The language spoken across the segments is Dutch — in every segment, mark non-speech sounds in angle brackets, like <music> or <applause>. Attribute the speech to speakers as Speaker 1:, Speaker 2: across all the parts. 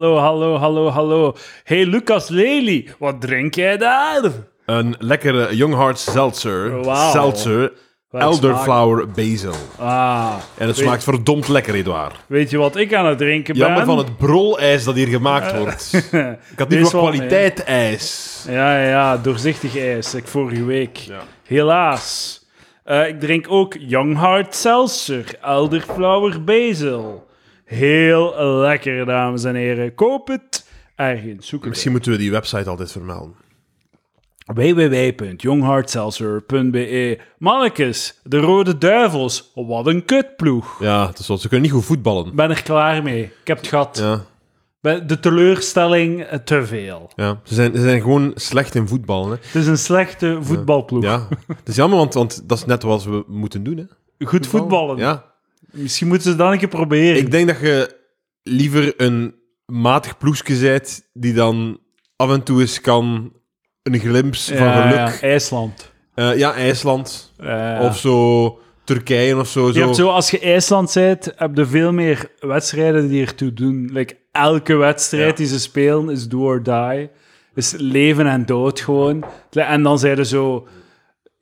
Speaker 1: Hallo, hallo, hallo, hallo. Hey Lucas Lely, wat drink jij daar?
Speaker 2: Een lekkere Young Heart Seltzer.
Speaker 1: Oh, Wauw.
Speaker 2: Seltzer.
Speaker 1: Welk
Speaker 2: elderflower basil.
Speaker 1: Ah,
Speaker 2: En het smaakt verdomd lekker, Edouard.
Speaker 1: weet je wat ik aan het drinken ben?
Speaker 2: Jammer van het brolijs dat hier gemaakt
Speaker 1: <laughs>
Speaker 2: wordt. Ik had
Speaker 1: Eh. Dit
Speaker 2: niet
Speaker 1: is
Speaker 2: wat
Speaker 1: wel
Speaker 2: kwaliteit ijs.
Speaker 1: <laughs> Ja, ja, ja, doorzichtig ijs. Ik vorige week.
Speaker 2: Ja.
Speaker 1: Helaas. Eh, ik drink ook Young Heart Seltzer, Elderflower Basil. Heel lekker, dames en heren. Koop het ergens. Zoek het
Speaker 2: Misschien moeten we die website altijd vermelden.
Speaker 1: www.youngheartseltzer.be Mannekes, de Rode Duivels. Wat een kutploeg.
Speaker 2: Ja, het is wat. Ze kunnen niet goed voetballen.
Speaker 1: ben er klaar mee. Ik heb het gehad.
Speaker 2: Ja,
Speaker 1: Ben- De teleurstelling eh, te veel.
Speaker 2: ja. Ze, zijn, ze zijn gewoon slecht in voetballen. Hè.
Speaker 1: Het is een slechte voetbalploeg. <laughs>
Speaker 2: Ja. Het is jammer, want, want dat is net wat we moeten doen. Hè.
Speaker 1: Goed voetballen.
Speaker 2: Ja.
Speaker 1: Misschien moeten ze dat een keer proberen.
Speaker 2: Ik denk dat je liever een matig ploesje zijt die dan af en toe eens kan een glimp van
Speaker 1: Ja,
Speaker 2: geluk.
Speaker 1: ja, Eh, IJsland.
Speaker 2: Eh, ja, IJsland
Speaker 1: Ja.
Speaker 2: of zo, Turkije of zo.
Speaker 1: Je
Speaker 2: zo.
Speaker 1: hebt zo, als je IJsland bent, heb je veel meer wedstrijden die ertoe doen. Like, elke wedstrijd
Speaker 2: Ja.
Speaker 1: die ze spelen is do or die. Is leven en dood gewoon. En dan zijn ze zo...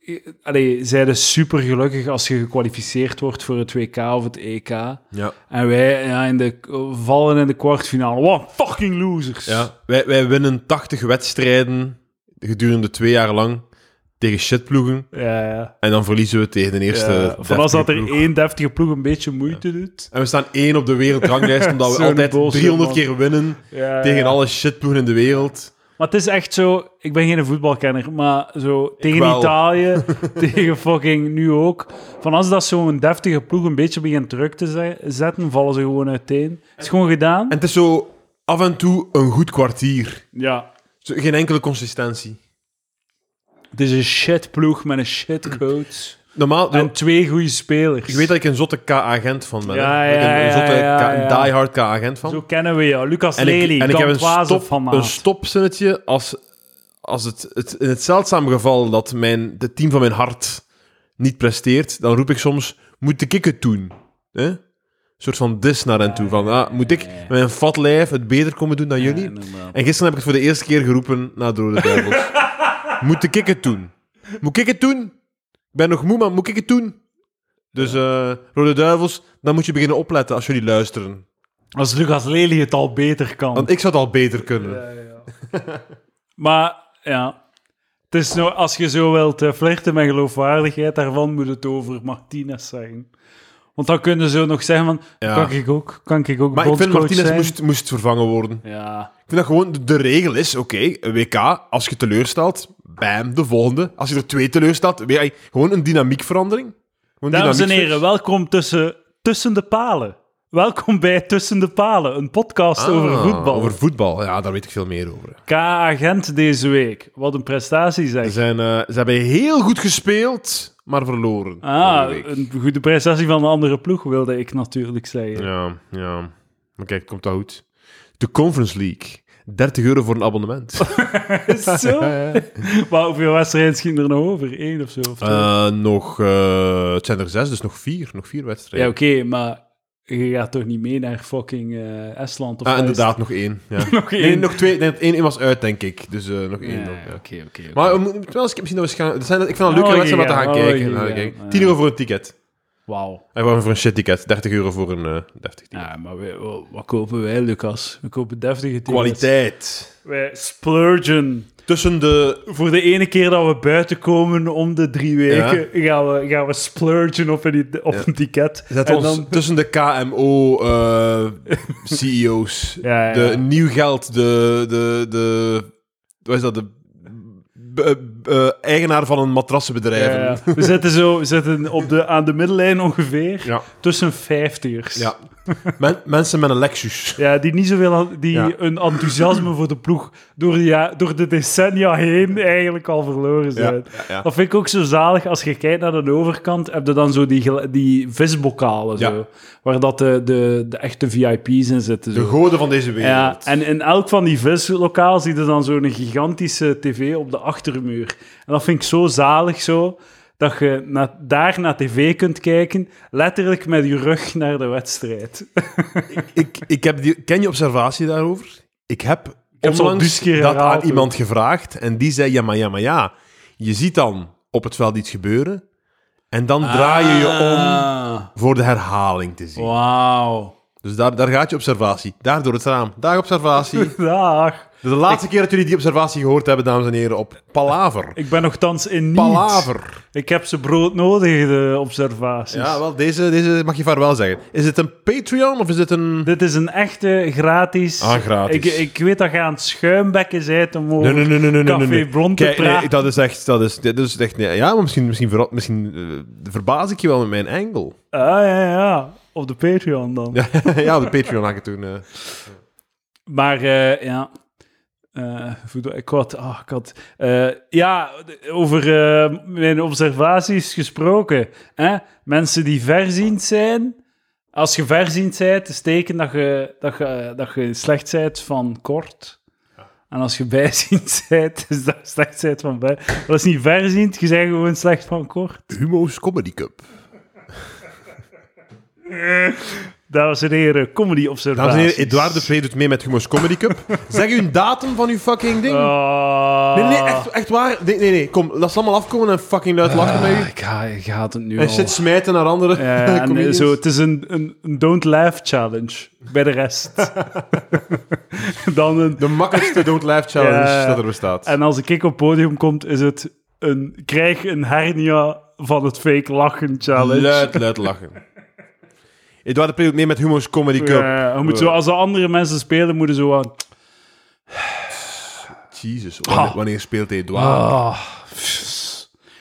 Speaker 1: eh, Allee, zijn ze super gelukkig als je gekwalificeerd wordt voor het WK of het E EK.
Speaker 2: Ja.
Speaker 1: En wij ja, in de, vallen in de kwartfinale. Wat fucking losers.
Speaker 2: Ja. Wij, wij winnen 80 wedstrijden gedurende twee jaar lang tegen shitploegen.
Speaker 1: ja, ja.
Speaker 2: En dan verliezen we tegen de eerste.
Speaker 1: Ja. Van als
Speaker 2: deftige
Speaker 1: dat er
Speaker 2: ploeg.
Speaker 1: één deftige ploeg een beetje moeite doet.
Speaker 2: En we staan één op de
Speaker 1: <laughs>
Speaker 2: wereldranglijst, omdat we
Speaker 1: Zo'n
Speaker 2: altijd
Speaker 1: bullshit,
Speaker 2: 300
Speaker 1: man.
Speaker 2: keer winnen
Speaker 1: Ja,
Speaker 2: tegen
Speaker 1: ja.
Speaker 2: alle shitploegen in de wereld.
Speaker 1: Maar het is echt zo... Ik ben geen voetbalkenner, maar zo tegen
Speaker 2: wel. <laughs>
Speaker 1: Italië, tegen fucking nu ook. Van als dat zo'n deftige ploeg een beetje begint druk te ze- zetten, vallen ze gewoon uiteen. Is gewoon gedaan.
Speaker 2: En het is zo af en toe een goed kwartier.
Speaker 1: Ja.
Speaker 2: Zo, geen enkele consistentie.
Speaker 1: Het is een shitploeg met een shitcoach.
Speaker 2: Normaal,
Speaker 1: En twee goede spelers.
Speaker 2: ik weet dat ik een zotte K-agent van ben. hè.
Speaker 1: Ja,
Speaker 2: Ik ben
Speaker 1: ja,
Speaker 2: een,
Speaker 1: ja,
Speaker 2: zotte
Speaker 1: ja,
Speaker 2: K- een
Speaker 1: ja.
Speaker 2: diehard K-agent van.
Speaker 1: Zo kennen we jou. Lucas
Speaker 2: en ik,
Speaker 1: Lely,
Speaker 2: en ik heb een,
Speaker 1: Gantoise
Speaker 2: stop,
Speaker 1: van
Speaker 2: een
Speaker 1: Maat.
Speaker 2: stopzinnetje als, als het, het, in het zeldzame geval dat mijn, het team van mijn hart niet presteert, dan roep ik soms, moet ik het doen? Hè? Een soort van dis naar hen toe. Van, ah, moet ik met mijn vat lijf het beter komen doen dan jullie?
Speaker 1: Ja, normaal.
Speaker 2: En gisteren heb ik het voor de eerste keer geroepen na de Rode
Speaker 1: <laughs>
Speaker 2: Duivels. moet ik het doen? Moet ik het doen? Ik ben nog moe, maar moet ik het doen? Dus eh, Rode Duivels, dan moet je beginnen opletten als jullie luisteren.
Speaker 1: Als Lucas Lely het al beter kan.
Speaker 2: Want ik zou het al beter kunnen.
Speaker 1: Maar ja, het is nou, als je zo wilt eh, flirten met geloofwaardigheid, daarvan moet het over Martinez zijn. Want dan kunnen ze nog zeggen van,
Speaker 2: Ja.
Speaker 1: kan ik ook, kan ik ook
Speaker 2: Maar ik vind
Speaker 1: bondscoach
Speaker 2: Martinez
Speaker 1: zijn?
Speaker 2: moest, moest vervangen worden.
Speaker 1: Ja,
Speaker 2: Ik vind dat gewoon de- de regel is: oké, een WK, als je teleurstelt, bam, de volgende. Als je er twee teleurstelt, weer, ey, gewoon een dynamiekverandering. Gewoon
Speaker 1: Dames en
Speaker 2: dynamiek
Speaker 1: heren, welkom tussen, tussen de palen. Welkom bij Tussen de Palen, een podcast
Speaker 2: switch.
Speaker 1: over
Speaker 2: Ah,
Speaker 1: voetbal.
Speaker 2: Over voetbal, ja, daar weet ik veel meer over.
Speaker 1: K-agent deze week. Wat een prestatie
Speaker 2: Ze,
Speaker 1: zeg.
Speaker 2: zijn, eh, ze hebben heel goed gespeeld, maar verloren.
Speaker 1: Ah,
Speaker 2: vorige week.
Speaker 1: een goede prestatie van een andere ploeg wilde ik natuurlijk zeggen.
Speaker 2: Ja, ja. Maar kijk, komt dat goed? De Conference League. 30 euro voor een abonnement.
Speaker 1: <laughs> Is het zo? <laughs> Maar hoeveel wedstrijden schieten er nog over? Eén of zo? Of twee?
Speaker 2: Eh, nog, eh, het zijn er zes, dus nog vier. Nog vier wedstrijden.
Speaker 1: Ja, oké, maar je gaat toch niet mee naar fucking eh, Estland of
Speaker 2: Ah,
Speaker 1: waar is
Speaker 2: inderdaad, nog
Speaker 1: <laughs>
Speaker 2: één. Ja.
Speaker 1: Nog
Speaker 2: Nee,
Speaker 1: één.
Speaker 2: nog twee. Nee, één, één was uit, denk ik. Dus eh, nog
Speaker 1: het?
Speaker 2: één. nog,
Speaker 1: Ja,
Speaker 2: ja.
Speaker 1: Oké, oké. oké.
Speaker 2: Maar we moeten we moeten wel eens misschien nog eens gaan... het zijn- ik vind dat een
Speaker 1: Oh,
Speaker 2: leuke wedstrijd om
Speaker 1: ja,
Speaker 2: te gaan
Speaker 1: oh,
Speaker 2: kijken.
Speaker 1: ja,
Speaker 2: gaan
Speaker 1: ja,
Speaker 2: kijken.
Speaker 1: ja.
Speaker 2: 10 euro voor een ticket.
Speaker 1: Wauw.
Speaker 2: En waarom voor een shit ticket? 30 euro voor een eh deftig ticket.
Speaker 1: Ja, maar we- wa- wat kopen wij, Lucas? We kopen deftige tickets.
Speaker 2: Kwaliteit.
Speaker 1: Wij splurgen.
Speaker 2: Tussen de...
Speaker 1: Voor de ene keer dat we buiten komen om de drie weken, gaan, we, gaan we splurgen op een, op een ticket.
Speaker 2: Zet
Speaker 1: en <laughs>
Speaker 2: ons
Speaker 1: dan...
Speaker 2: tussen de eh, KMO-CEO's.
Speaker 1: <laughs> Ja, ja.
Speaker 2: E De nieuw geld, de... de, de wat is dat? De b- eh, eigenaar van een matrassenbedrijf.
Speaker 1: Ja, ja. eh, we zitten zo we zitten op de, aan de middellijn ongeveer,
Speaker 2: Ja.
Speaker 1: tussen vijftigers.
Speaker 2: Ja. Men- mensen met een Lexus.
Speaker 1: Ja, die niet zoveel, die
Speaker 2: Ja.
Speaker 1: een enthousiasme voor de ploeg door de, ja, door de decennia heen eigenlijk al verloren zijn.
Speaker 2: ja, ja.
Speaker 1: Dat vind ik ook zo zalig. Als je kijkt naar de overkant, heb je dan zo die, gel- die visbokalen,
Speaker 2: Ja.
Speaker 1: zo, waar dat de, de, de echte VIP's in zitten.
Speaker 2: De
Speaker 1: Zo.
Speaker 2: goden van deze wereld.
Speaker 1: Ja, en in elk van die vislokaal zie je dan zo'n gigantische tv op de achtermuur. En dat vind ik zo zalig zo. dat je na, daar naar tv kunt kijken, letterlijk met je rug naar de wedstrijd.
Speaker 2: Ik, ik heb die, ken je observatie daarover? Ik heb
Speaker 1: heb ze al
Speaker 2: onlangs
Speaker 1: dus keer
Speaker 2: dat aan
Speaker 1: herhaald, hoor.
Speaker 2: iemand gevraagd en die zei, ja, maar ja, maar ja. Je ziet dan op het veld iets gebeuren en dan
Speaker 1: Ah.
Speaker 2: draai je je om voor de herhaling te zien.
Speaker 1: Wauw.
Speaker 2: Dus daar, daar gaat je observatie. Daar door het raam. Daar
Speaker 1: <laughs>
Speaker 2: observatie. Dus
Speaker 1: Dag.
Speaker 2: de laatste keer dat jullie die observatie gehoord hebben, dames en heren, op Palaver.
Speaker 1: Ik ben nogthans in niet.
Speaker 2: Palaver.
Speaker 1: Ik heb ze brood nodig, de observaties.
Speaker 2: Ja, wel, deze, deze mag je vaarwel zeggen. Is het een Patreon of is het een...
Speaker 1: Dit is een echte gratis...
Speaker 2: Ah, gratis.
Speaker 1: Ik, ik weet dat je aan het schuimbekken bent om over
Speaker 2: Nee, nee, nee, nee, nee, nee,
Speaker 1: Café
Speaker 2: nee.
Speaker 1: Blond te
Speaker 2: Kijk, nee,
Speaker 1: praten.
Speaker 2: dat is echt, dat is, dit is echt, nee, ja, maar misschien, misschien, verra- misschien eh, verbaas ik je wel met mijn angle. <laughs>
Speaker 1: Ah, ja, ja. Op de Patreon dan.
Speaker 2: ja, op de Patreon had ik het toen. eh.
Speaker 1: Maar eh, ja. Eh, voedsel- ik had. ah, ik had eh, ja, d- over eh, mijn observaties gesproken. Hè? Mensen die verziend zijn. Als je verziend bent, is het teken dat je, dat, je, dat je slecht bent van kort. En als je <laughs> bijziend bent, is dat slecht bent van bij. Dat is niet verziend, je bent gewoon slecht van kort.
Speaker 2: Humo's Comedy Cup.
Speaker 1: Dames en heren, comedy observaties.
Speaker 2: Dames en heren, Edouard de Vree doet mee met Humo's Comedy Cup. zeg u een datum van uw fucking ding.
Speaker 1: Ah.
Speaker 2: Nee, nee, echt, echt waar. Nee, nee, nee, kom, laat ze allemaal afkomen en fucking luid lachen met u.
Speaker 1: Ah, Ik ga, ik ga het nu
Speaker 2: En
Speaker 1: al-
Speaker 2: shit smijten naar andere <laughs>
Speaker 1: Ja, en eh,
Speaker 2: comedians.
Speaker 1: zo, het is een, een, een don't laugh challenge bij de rest. Dan een,
Speaker 2: De makkelijkste Don't Live Challenge
Speaker 1: Ja.
Speaker 2: dat er bestaat.
Speaker 1: en als ik op het podium komt, is het een krijg een hernia van het fake lachen challenge.
Speaker 2: Luid, luid lachen. Edouard de Vree doet mee met Humo's Comedy Cup.
Speaker 1: Ja, Eh, je moet zo,
Speaker 2: Ja.
Speaker 1: als de andere mensen spelen, moeten zo aan.
Speaker 2: Jezus, wanneer, wanneer speelt Edouard?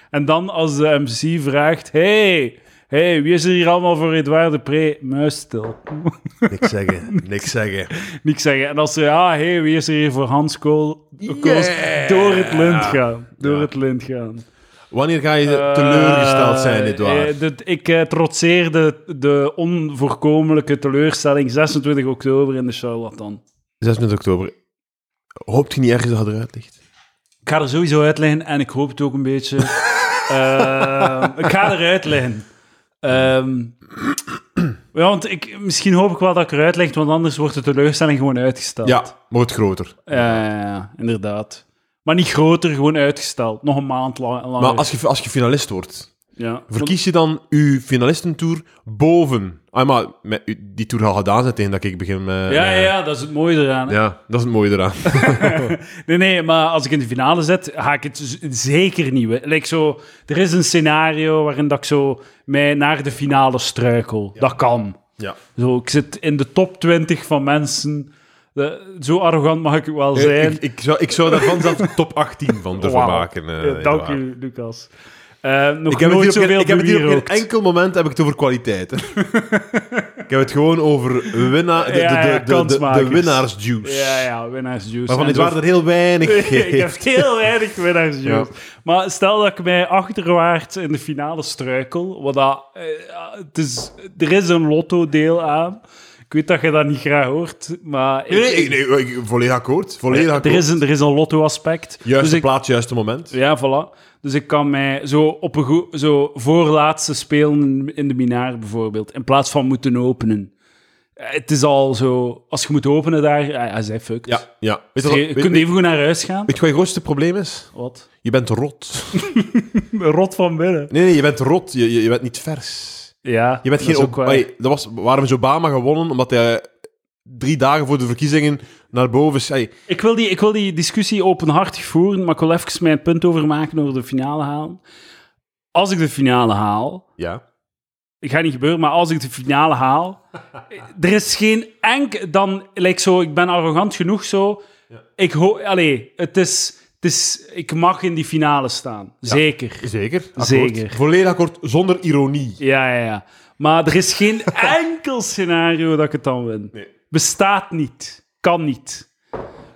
Speaker 1: En dan als de MC vraagt: hey, hey, wie is er hier allemaal voor Edouard de Pre? Muis stil. Ah.
Speaker 2: Niks zeggen, niks zeggen.
Speaker 1: Niks zeggen. En als ze, ah, hey, wie is er hier voor Hans Kool? Kools?"
Speaker 2: Yeah.
Speaker 1: Door het lint gaan. Door het lint gaan.
Speaker 2: Wanneer ga je teleurgesteld zijn, Edouard?
Speaker 1: Eh, dat- ik eh, trotseerde de onvoorkomelijke teleurstelling 26 oktober in de charlatan.
Speaker 2: 26 oktober. Hoopt je niet ergens dat het eruit ligt?
Speaker 1: Ik ga er sowieso uitleggen en ik hoop het ook een <laughs> beetje. Ehm, ik ga eruit leggen. Ehm, ja, want ik, misschien hoop ik wel dat ik eruit leg, want anders wordt de teleurstelling gewoon uitgesteld.
Speaker 2: Ja, wordt groter.
Speaker 1: Eh, inderdaad. Maar niet groter, gewoon uitgesteld. Nog een maand lang, langer.
Speaker 2: Maar als je, als je finalist wordt,
Speaker 1: ja.
Speaker 2: verkies je dan je finalistentour boven... Ah, maar met, u- die tour al gedaan zijn tegen dat ik begin met...
Speaker 1: ja, ja, ja, dat is het mooie eraan. hè.
Speaker 2: eh, Ja, dat is het mooie eraan.
Speaker 1: Nee, nee, maar als ik in de finale zit, ga ik het z- zeker niet winnen. Like zo, er is een scenario waarin dat ik zo mij naar de finale struikel. Dat kan.
Speaker 2: ja.
Speaker 1: Zo, ik zit in de top 20 van mensen. De- zo arrogant mag ik wel zijn.
Speaker 2: Eh, Ik, ik, zou, ik zou daarvan zelf top 18 van durven
Speaker 1: Wauw.
Speaker 2: maken. eh,
Speaker 1: Ja, dank
Speaker 2: Edouard.
Speaker 1: u, Lucas. Eh, nog
Speaker 2: Ik heb,
Speaker 1: nooit
Speaker 2: het hier op geen,
Speaker 1: zoveel
Speaker 2: ik heb het hier op
Speaker 1: bier
Speaker 2: geen
Speaker 1: rookt.
Speaker 2: enkel moment heb ik het over
Speaker 1: <laughs>
Speaker 2: kwaliteit. hè. ik heb het gewoon over winnaar, de, de,
Speaker 1: Ja, ja,
Speaker 2: de, de, de,
Speaker 1: kansmakers.
Speaker 2: winnaarsjuice.
Speaker 1: Ja, ja, winnaarsjuice.
Speaker 2: Waarvan
Speaker 1: En
Speaker 2: dit waren er heel
Speaker 1: <laughs>
Speaker 2: weinig
Speaker 1: ik heb heel weinig winnaarsjuice.
Speaker 2: Ja.
Speaker 1: Maar stel dat ik mij achterwaarts in de finale struikel. Wat dat, eh, ja, het is, er is een lotto-deel aan. Ik weet dat je dat niet graag hoort, maar... ik-
Speaker 2: Nee, nee, nee, nee, ik- volledig akkoord. Volledig
Speaker 1: er,
Speaker 2: akkoord.
Speaker 1: is een, er is een lotto-aspect.
Speaker 2: Juiste
Speaker 1: Dus ik,
Speaker 2: plaats, juiste moment.
Speaker 1: ja, voilà. Dus ik kan mij zo op een goe- zo voorlaatste spelen in- in de binair bijvoorbeeld, in plaats van moeten openen. Eh, Het is al zo, als je moet openen daar, hij ah, zij fucked.
Speaker 2: Ja, ja. Weet
Speaker 1: Dus je,
Speaker 2: je, wat-
Speaker 1: je
Speaker 2: weet-
Speaker 1: kunt even goed naar huis gaan.
Speaker 2: weet je wat je grootste probleem is?
Speaker 1: Wat?
Speaker 2: Je bent rot.
Speaker 1: Rot van binnen.
Speaker 2: Nee, nee, je bent rot. Je, je, je bent niet vers.
Speaker 1: Ja,
Speaker 2: Je bent
Speaker 1: dat
Speaker 2: geen...
Speaker 1: is
Speaker 2: Ob-
Speaker 1: ook waar.
Speaker 2: Ai, dat was, waarom is Obama gewonnen? Omdat hij drie dagen voor de verkiezingen naar boven... is- Ai,
Speaker 1: Ik wil, die, ik wil die discussie openhartig voeren, maar ik wil even mijn punt overmaken over de finale halen. Als ik de finale haal,
Speaker 2: ja.
Speaker 1: Het gaat niet gebeuren, maar als ik de finale <laughs> haal, er is geen enk dan like zo, ik ben arrogant genoeg zo. Ik ho allee, het is, het is ik mag in die finale staan. Zeker.
Speaker 2: Zeker. akkoord.
Speaker 1: Zeker.
Speaker 2: Volledig akkoord, zonder ironie.
Speaker 1: Ja, ja, ja. Maar er is
Speaker 2: <laughs>
Speaker 1: geen enkel scenario dat ik het dan win.
Speaker 2: Nee.
Speaker 1: Bestaat niet. Kan niet.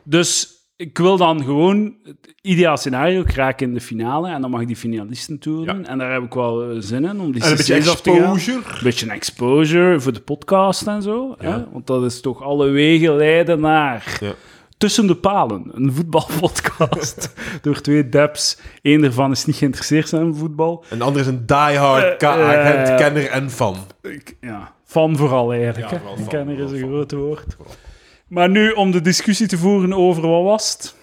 Speaker 1: Dus ik wil dan gewoon het ideaal scenario, ik raak in de finale en dan mag ik die finalisten toeren.
Speaker 2: Ja.
Speaker 1: En daar heb ik wel eh, zin in om die
Speaker 2: En een beetje
Speaker 1: CC's af te gaan.
Speaker 2: exposure.
Speaker 1: Een beetje exposure voor de podcast en zo. Hè?
Speaker 2: Ja.
Speaker 1: Want dat is toch alle wegen leiden naar
Speaker 2: Ja.
Speaker 1: Tussen de Palen, een
Speaker 2: <laughs>
Speaker 1: voetbalpodcast door twee deps. Eén daarvan is niet geïnteresseerd in voetbal.
Speaker 2: En de andere is een diehard ka-
Speaker 1: eh,
Speaker 2: Gent kenner en fan.
Speaker 1: Ik- ja, fan vooral eigenlijk.
Speaker 2: Ja,
Speaker 1: hè.
Speaker 2: vooral fan,
Speaker 1: Kenner is
Speaker 2: vooral
Speaker 1: een
Speaker 2: fan.
Speaker 1: groot woord. Maar nu om de discussie te voeren over wat was het?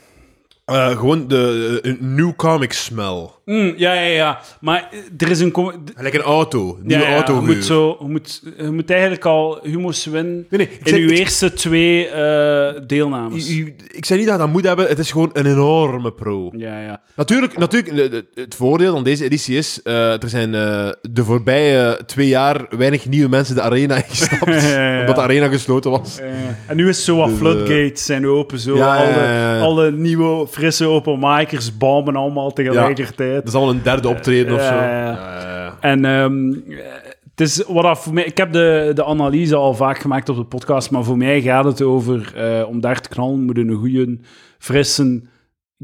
Speaker 2: Eh, gewoon de eh, een new comic smell.
Speaker 1: Mm, ja, ja, ja. Maar eh, er is een... com- d-
Speaker 2: Lekker een auto. Een nieuwe
Speaker 1: ja, ja,
Speaker 2: auto
Speaker 1: je moet, zo, je, moet, je moet eigenlijk al humus winnen
Speaker 2: Nee, nee, ik
Speaker 1: in
Speaker 2: zeg-
Speaker 1: uw
Speaker 2: ik-
Speaker 1: eerste twee eh, deelnames.
Speaker 2: I- i- Ik zei niet dat je dat moet hebben, het is gewoon een enorme pro.
Speaker 1: Ja, ja.
Speaker 2: Natuurlijk, natuurlijk de- de- het voordeel van deze editie is, eh, er zijn eh, de voorbije twee jaar weinig nieuwe mensen de arena <laughs> ingestapt,
Speaker 1: Ja, ja.
Speaker 2: omdat de arena gesloten was.
Speaker 1: Eh, en nu is het zo wat
Speaker 2: Dus, eh,
Speaker 1: floodgates zijn open. Zo.
Speaker 2: ja, ja,
Speaker 1: alle,
Speaker 2: ja, ja.
Speaker 1: alle nieuwe, frisse open micers bomben allemaal tegelijkertijd.
Speaker 2: Dat is al een derde optreden of
Speaker 1: Ja,
Speaker 2: zo.
Speaker 1: ja, ja.
Speaker 2: Ja, ja.
Speaker 1: En ehm, eh, het is wat dat voor mij, ik heb de, de analyse al vaak gemaakt op de podcast, maar voor mij gaat het over eh, om daar te knallen, moet je een goede, frisse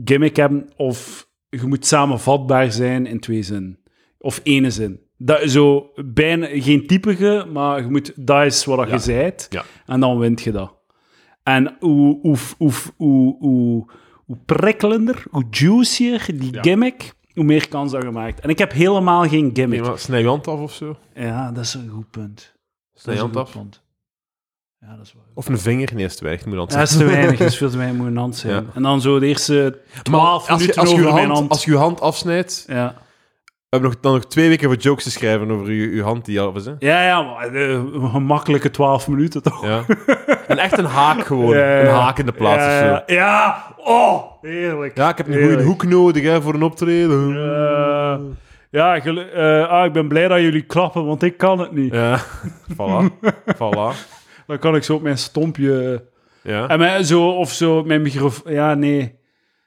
Speaker 1: gimmick hebben. Of je moet samenvatbaar zijn in twee zinnen. Of ene zin. Dat, is zo, bijna geen typige, maar je moet, dat is wat dat je zijt.
Speaker 2: Ja.
Speaker 1: En dan wint je dat. En hoe, hoe, hoe, hoe, hoe, hoe prikkelender, hoe juicier die gimmick, hoe meer kans dat je maakt. En ik heb helemaal geen
Speaker 2: Nee,
Speaker 1: gimmick.
Speaker 2: maar snij je hand af of zo.
Speaker 1: Ja, dat is een goed punt.
Speaker 2: Snij je hand af.
Speaker 1: punt. Ja, dat is wel.
Speaker 2: Of een vinger. Nee, is te weinig. Moet
Speaker 1: Dat is te <laughs> weinig, dat is veel te weinig moet een hand zijn.
Speaker 2: Ja.
Speaker 1: En dan zo de eerste
Speaker 2: Maar
Speaker 1: 12
Speaker 2: als je,
Speaker 1: minuten
Speaker 2: als, je je
Speaker 1: over mijn
Speaker 2: hand,
Speaker 1: hand.
Speaker 2: als je je hand afsnijdt,
Speaker 1: Ja.
Speaker 2: we hebben nog, dan nog twee weken voor jokes te schrijven over je, je hand die af is. Hè?
Speaker 1: Ja, ja, maar eh, een gemakkelijke 12 minuten toch? <laughs>
Speaker 2: Ja. en echt een haak gewoon.
Speaker 1: Ja, ja,
Speaker 2: Een
Speaker 1: ja.
Speaker 2: haak in de plaats
Speaker 1: ja,
Speaker 2: of
Speaker 1: Ja,
Speaker 2: zo.
Speaker 1: ja. oh, heerlijk.
Speaker 2: Ja, ik heb een
Speaker 1: Heerlijk.
Speaker 2: goede hoek nodig hè, voor een optreden.
Speaker 1: Eh, ja, gelu- eh, ah, ik ben blij dat jullie klappen, want ik kan het niet.
Speaker 2: Ja, <laughs>
Speaker 1: <laughs>
Speaker 2: voilà. voilà.
Speaker 1: Dan kan ik zo op mijn stompje. eh,
Speaker 2: Ja.
Speaker 1: En mijn, zo, of zo, mijn microfoon. Ja, nee.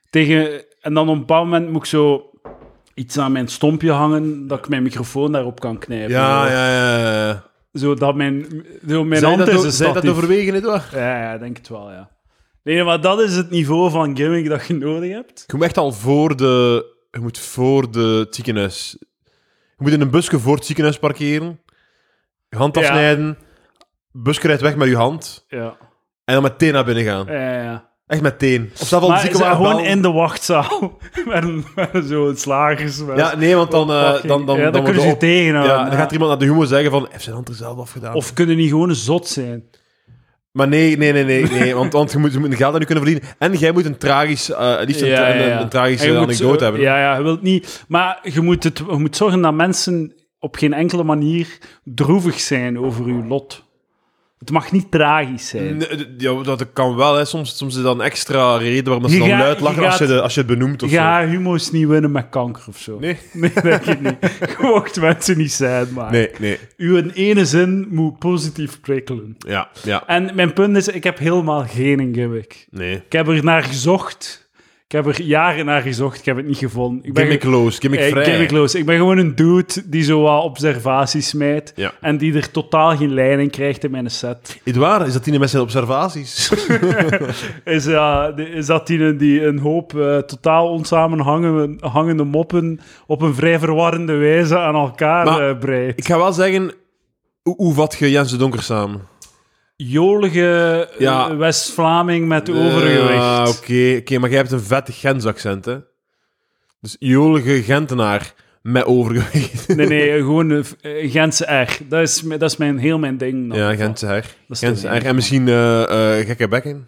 Speaker 1: Tegen, en dan op een bepaald moment moet ik zo iets aan mijn stompje hangen, dat ik mijn microfoon daarop kan knijpen.
Speaker 2: ja, ja, ja, ja.
Speaker 1: Zo dat mijn, zo mijn
Speaker 2: Zijn
Speaker 1: hand
Speaker 2: dat,
Speaker 1: is
Speaker 2: o-
Speaker 1: een
Speaker 2: zijn dat
Speaker 1: statief.
Speaker 2: overwegen, nietwaar?
Speaker 1: Ja, ja, ik denk het wel, ja. Nee, maar dat is het niveau van gimmick dat je nodig hebt.
Speaker 2: Je moet echt al voor de... Je moet voor de, het ziekenhuis... Je moet in een busje voor het ziekenhuis parkeren. Je hand
Speaker 1: Ja.
Speaker 2: afsnijden. Busje rijdt weg met je hand.
Speaker 1: Ja,
Speaker 2: En dan meteen naar binnen gaan.
Speaker 1: ja, ja. ja.
Speaker 2: Echt meteen. Of zelfs al
Speaker 1: Maar
Speaker 2: de
Speaker 1: ze zijn
Speaker 2: ziekenwagen
Speaker 1: gewoon
Speaker 2: bellen.
Speaker 1: in de wachtzaal. <laughs> met een, met een zo'n slagers. met-
Speaker 2: Ja, nee, want dan... eh,
Speaker 1: Fucking-
Speaker 2: dan, dan,
Speaker 1: ja, dan kunnen ze
Speaker 2: wordt de
Speaker 1: je
Speaker 2: op-
Speaker 1: tegenhouden.
Speaker 2: Ja, dan gaat er iemand naar de humo zeggen van... Heeft zijn hand er zelf afgedaan?
Speaker 1: Of kunnen niet gewoon een zot zijn.
Speaker 2: Maar nee, nee, nee, nee, nee want, want je moet, je moet geld aan je kunnen verdienen. En jij moet een tragisch, eh liefst een, tra- een- een
Speaker 1: En
Speaker 2: tragische
Speaker 1: je moet-
Speaker 2: anekdote
Speaker 1: eh,
Speaker 2: hebben.
Speaker 1: Ja, ja, je wilt niet... Maar je moet, het, je moet zorgen dat mensen op geen enkele manier droevig zijn over hun lot. Het mag niet tragisch zijn.
Speaker 2: Nee, d- ja, dat kan wel, hè. Soms, soms is dat een extra reden waarom dat ze
Speaker 1: Je
Speaker 2: dan
Speaker 1: gaat-
Speaker 2: luid
Speaker 1: je
Speaker 2: lachen als, je
Speaker 1: gaat-
Speaker 2: de, als je het benoemt of
Speaker 1: je gaat humo's niet winnen met kanker of zo.
Speaker 2: zo. Nee,
Speaker 1: <laughs> denk ik niet. Je mocht mensen niet zijn, maar...
Speaker 2: nee, nee.
Speaker 1: Uw ene zin moet positief prikkelen.
Speaker 2: Ja, ja,
Speaker 1: En mijn punt is, ik heb helemaal geen gimmick.
Speaker 2: nee.
Speaker 1: Ik heb er naar gezocht. Ik heb er jaren naar gezocht. Ik heb het niet gevonden. Ik ben
Speaker 2: Gimmickloos,
Speaker 1: eh,
Speaker 2: gimmickvrij.
Speaker 1: gimmickloos. Ik ben gewoon een dude die zo wat observaties smijt.
Speaker 2: Ja.
Speaker 1: En die er totaal geen leiding krijgt in mijn set.
Speaker 2: Edouard, is dat die de
Speaker 1: <laughs>
Speaker 2: mensen observaties?
Speaker 1: Is, ja, de- is dat die, die een hoop eh, totaal onsamenhangende hangende moppen op een vrij verwarrende wijze aan elkaar
Speaker 2: Maar-
Speaker 1: eh, breidt?
Speaker 2: ik ga wel zeggen, hoe, hoe vat je Jens de Donker samen?
Speaker 1: Jolige eh,
Speaker 2: Ja.
Speaker 1: West-Vlaming met overgewicht.
Speaker 2: Ah, Oké, oké, maar jij hebt een vette Gens accent, hè? Dus jolige Gentenaar met overgewicht.
Speaker 1: Nee, nee, eh, gewoon eh, Gentse R. Dat is, mijn- dat is mijn, heel mijn ding. dan.
Speaker 2: Ja, Gentse her.
Speaker 1: Dat is te
Speaker 2: Gentse
Speaker 1: weinig.
Speaker 2: her. En misschien eh, eh, gekke bekken.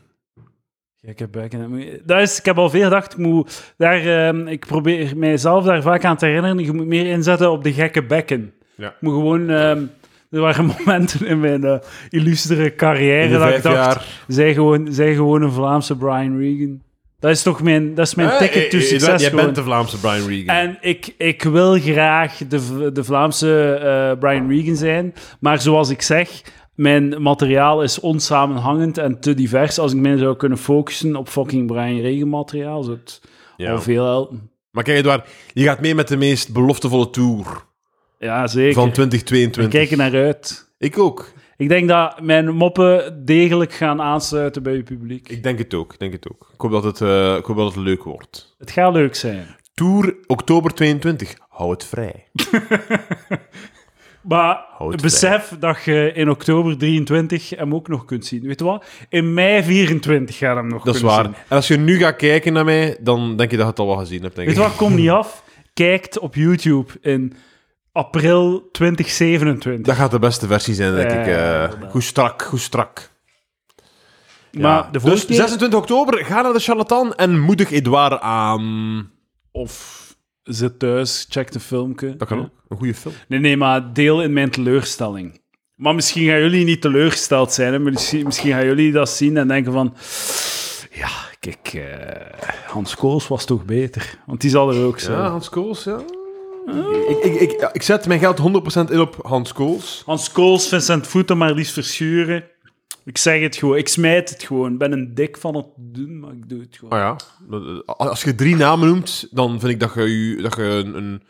Speaker 1: Ja, ik heb buik en dat moet- Dat is, ik heb al veel gedacht, ik, moet daar, ehm, ik probeer mijzelf daar vaak aan te herinneren. Je moet meer inzetten op de gekke bekken.
Speaker 2: Ja.
Speaker 1: Ik moet gewoon... ehm, er waren <laughs> momenten in mijn eh, illustere
Speaker 2: In
Speaker 1: carrière
Speaker 2: de
Speaker 1: dat ik
Speaker 2: vijf
Speaker 1: dacht,
Speaker 2: jaar.
Speaker 1: zij, gewoon, zij gewoon een Vlaamse Brian Regan. Dat is toch mijn, dat is mijn
Speaker 2: Eh, eh,
Speaker 1: ticket to
Speaker 2: eh,
Speaker 1: succes
Speaker 2: Jij
Speaker 1: gewoon. Eh,
Speaker 2: bent de Vlaamse Brian Regan.
Speaker 1: En ik, ik wil graag de, V- de Vlaamse eh, Brian Regan zijn. Maar zoals ik zeg, mijn materiaal is onsamenhangend en te divers. Als ik mij zou kunnen focussen op fucking Brian Regan materiaal, zou het
Speaker 2: Ja.
Speaker 1: al veel helpen.
Speaker 2: Maar kijk, Edouard, je gaat mee met de meest beloftevolle tour
Speaker 1: Ja, zeker.
Speaker 2: van
Speaker 1: ik
Speaker 2: 2022.
Speaker 1: kijk er naar uit.
Speaker 2: Ik ook.
Speaker 1: Ik denk dat mijn moppen degelijk gaan aansluiten bij uw publiek.
Speaker 2: Ik denk het ook. Ik denk het ook. Ik hoop dat het, eh, ik hoop dat het leuk wordt.
Speaker 1: Het gaat leuk zijn.
Speaker 2: Tour oktober 22. Hou het vrij.
Speaker 1: Maar
Speaker 2: Houd bij.
Speaker 1: besef dat je in oktober 23 hem ook nog kunt zien. Weet je wat? In mei 24 gaat hem nog
Speaker 2: Dat is
Speaker 1: kunnen
Speaker 2: waar.
Speaker 1: zien.
Speaker 2: En als je nu gaat kijken naar mij, dan denk je dat je het al wel gezien hebt, denk
Speaker 1: Weet
Speaker 2: ik.
Speaker 1: je wat? Kom niet af. Kijkt op YouTube in april 2027.
Speaker 2: Dat gaat de beste versie zijn, denk
Speaker 1: Ja,
Speaker 2: ik. eh.
Speaker 1: inderdaad.
Speaker 2: goed strak, goed strak. Ja.
Speaker 1: Maar de vorige
Speaker 2: dus 26 oktober, ga naar de charlatan en moedig Edouard aan.
Speaker 1: Of zit thuis, check de filmpje.
Speaker 2: Dat kan
Speaker 1: Ja.
Speaker 2: ook. Een goede film.
Speaker 1: Nee, nee, maar deel in mijn teleurstelling. Maar misschien gaan jullie niet teleurgesteld zijn. Hè? Misschien, misschien gaan jullie dat zien en denken van... Ja, kijk, eh, Hans Kools was toch beter? Want die zal er ook zijn.
Speaker 2: Hans Kools, ja. Ik, ik, ik, ja, ik zet mijn geld 100% in op Hans Kools.
Speaker 1: Hans Kools, Vincent Voeten, maar liefst verschuren. Ik zeg het gewoon, ik smijt het gewoon. Ik ben een dik van het doen, maar ik doe het gewoon.
Speaker 2: Ah ja. dat- Als je drie namen noemt, dan vind ik dat je, je- dat je een, een,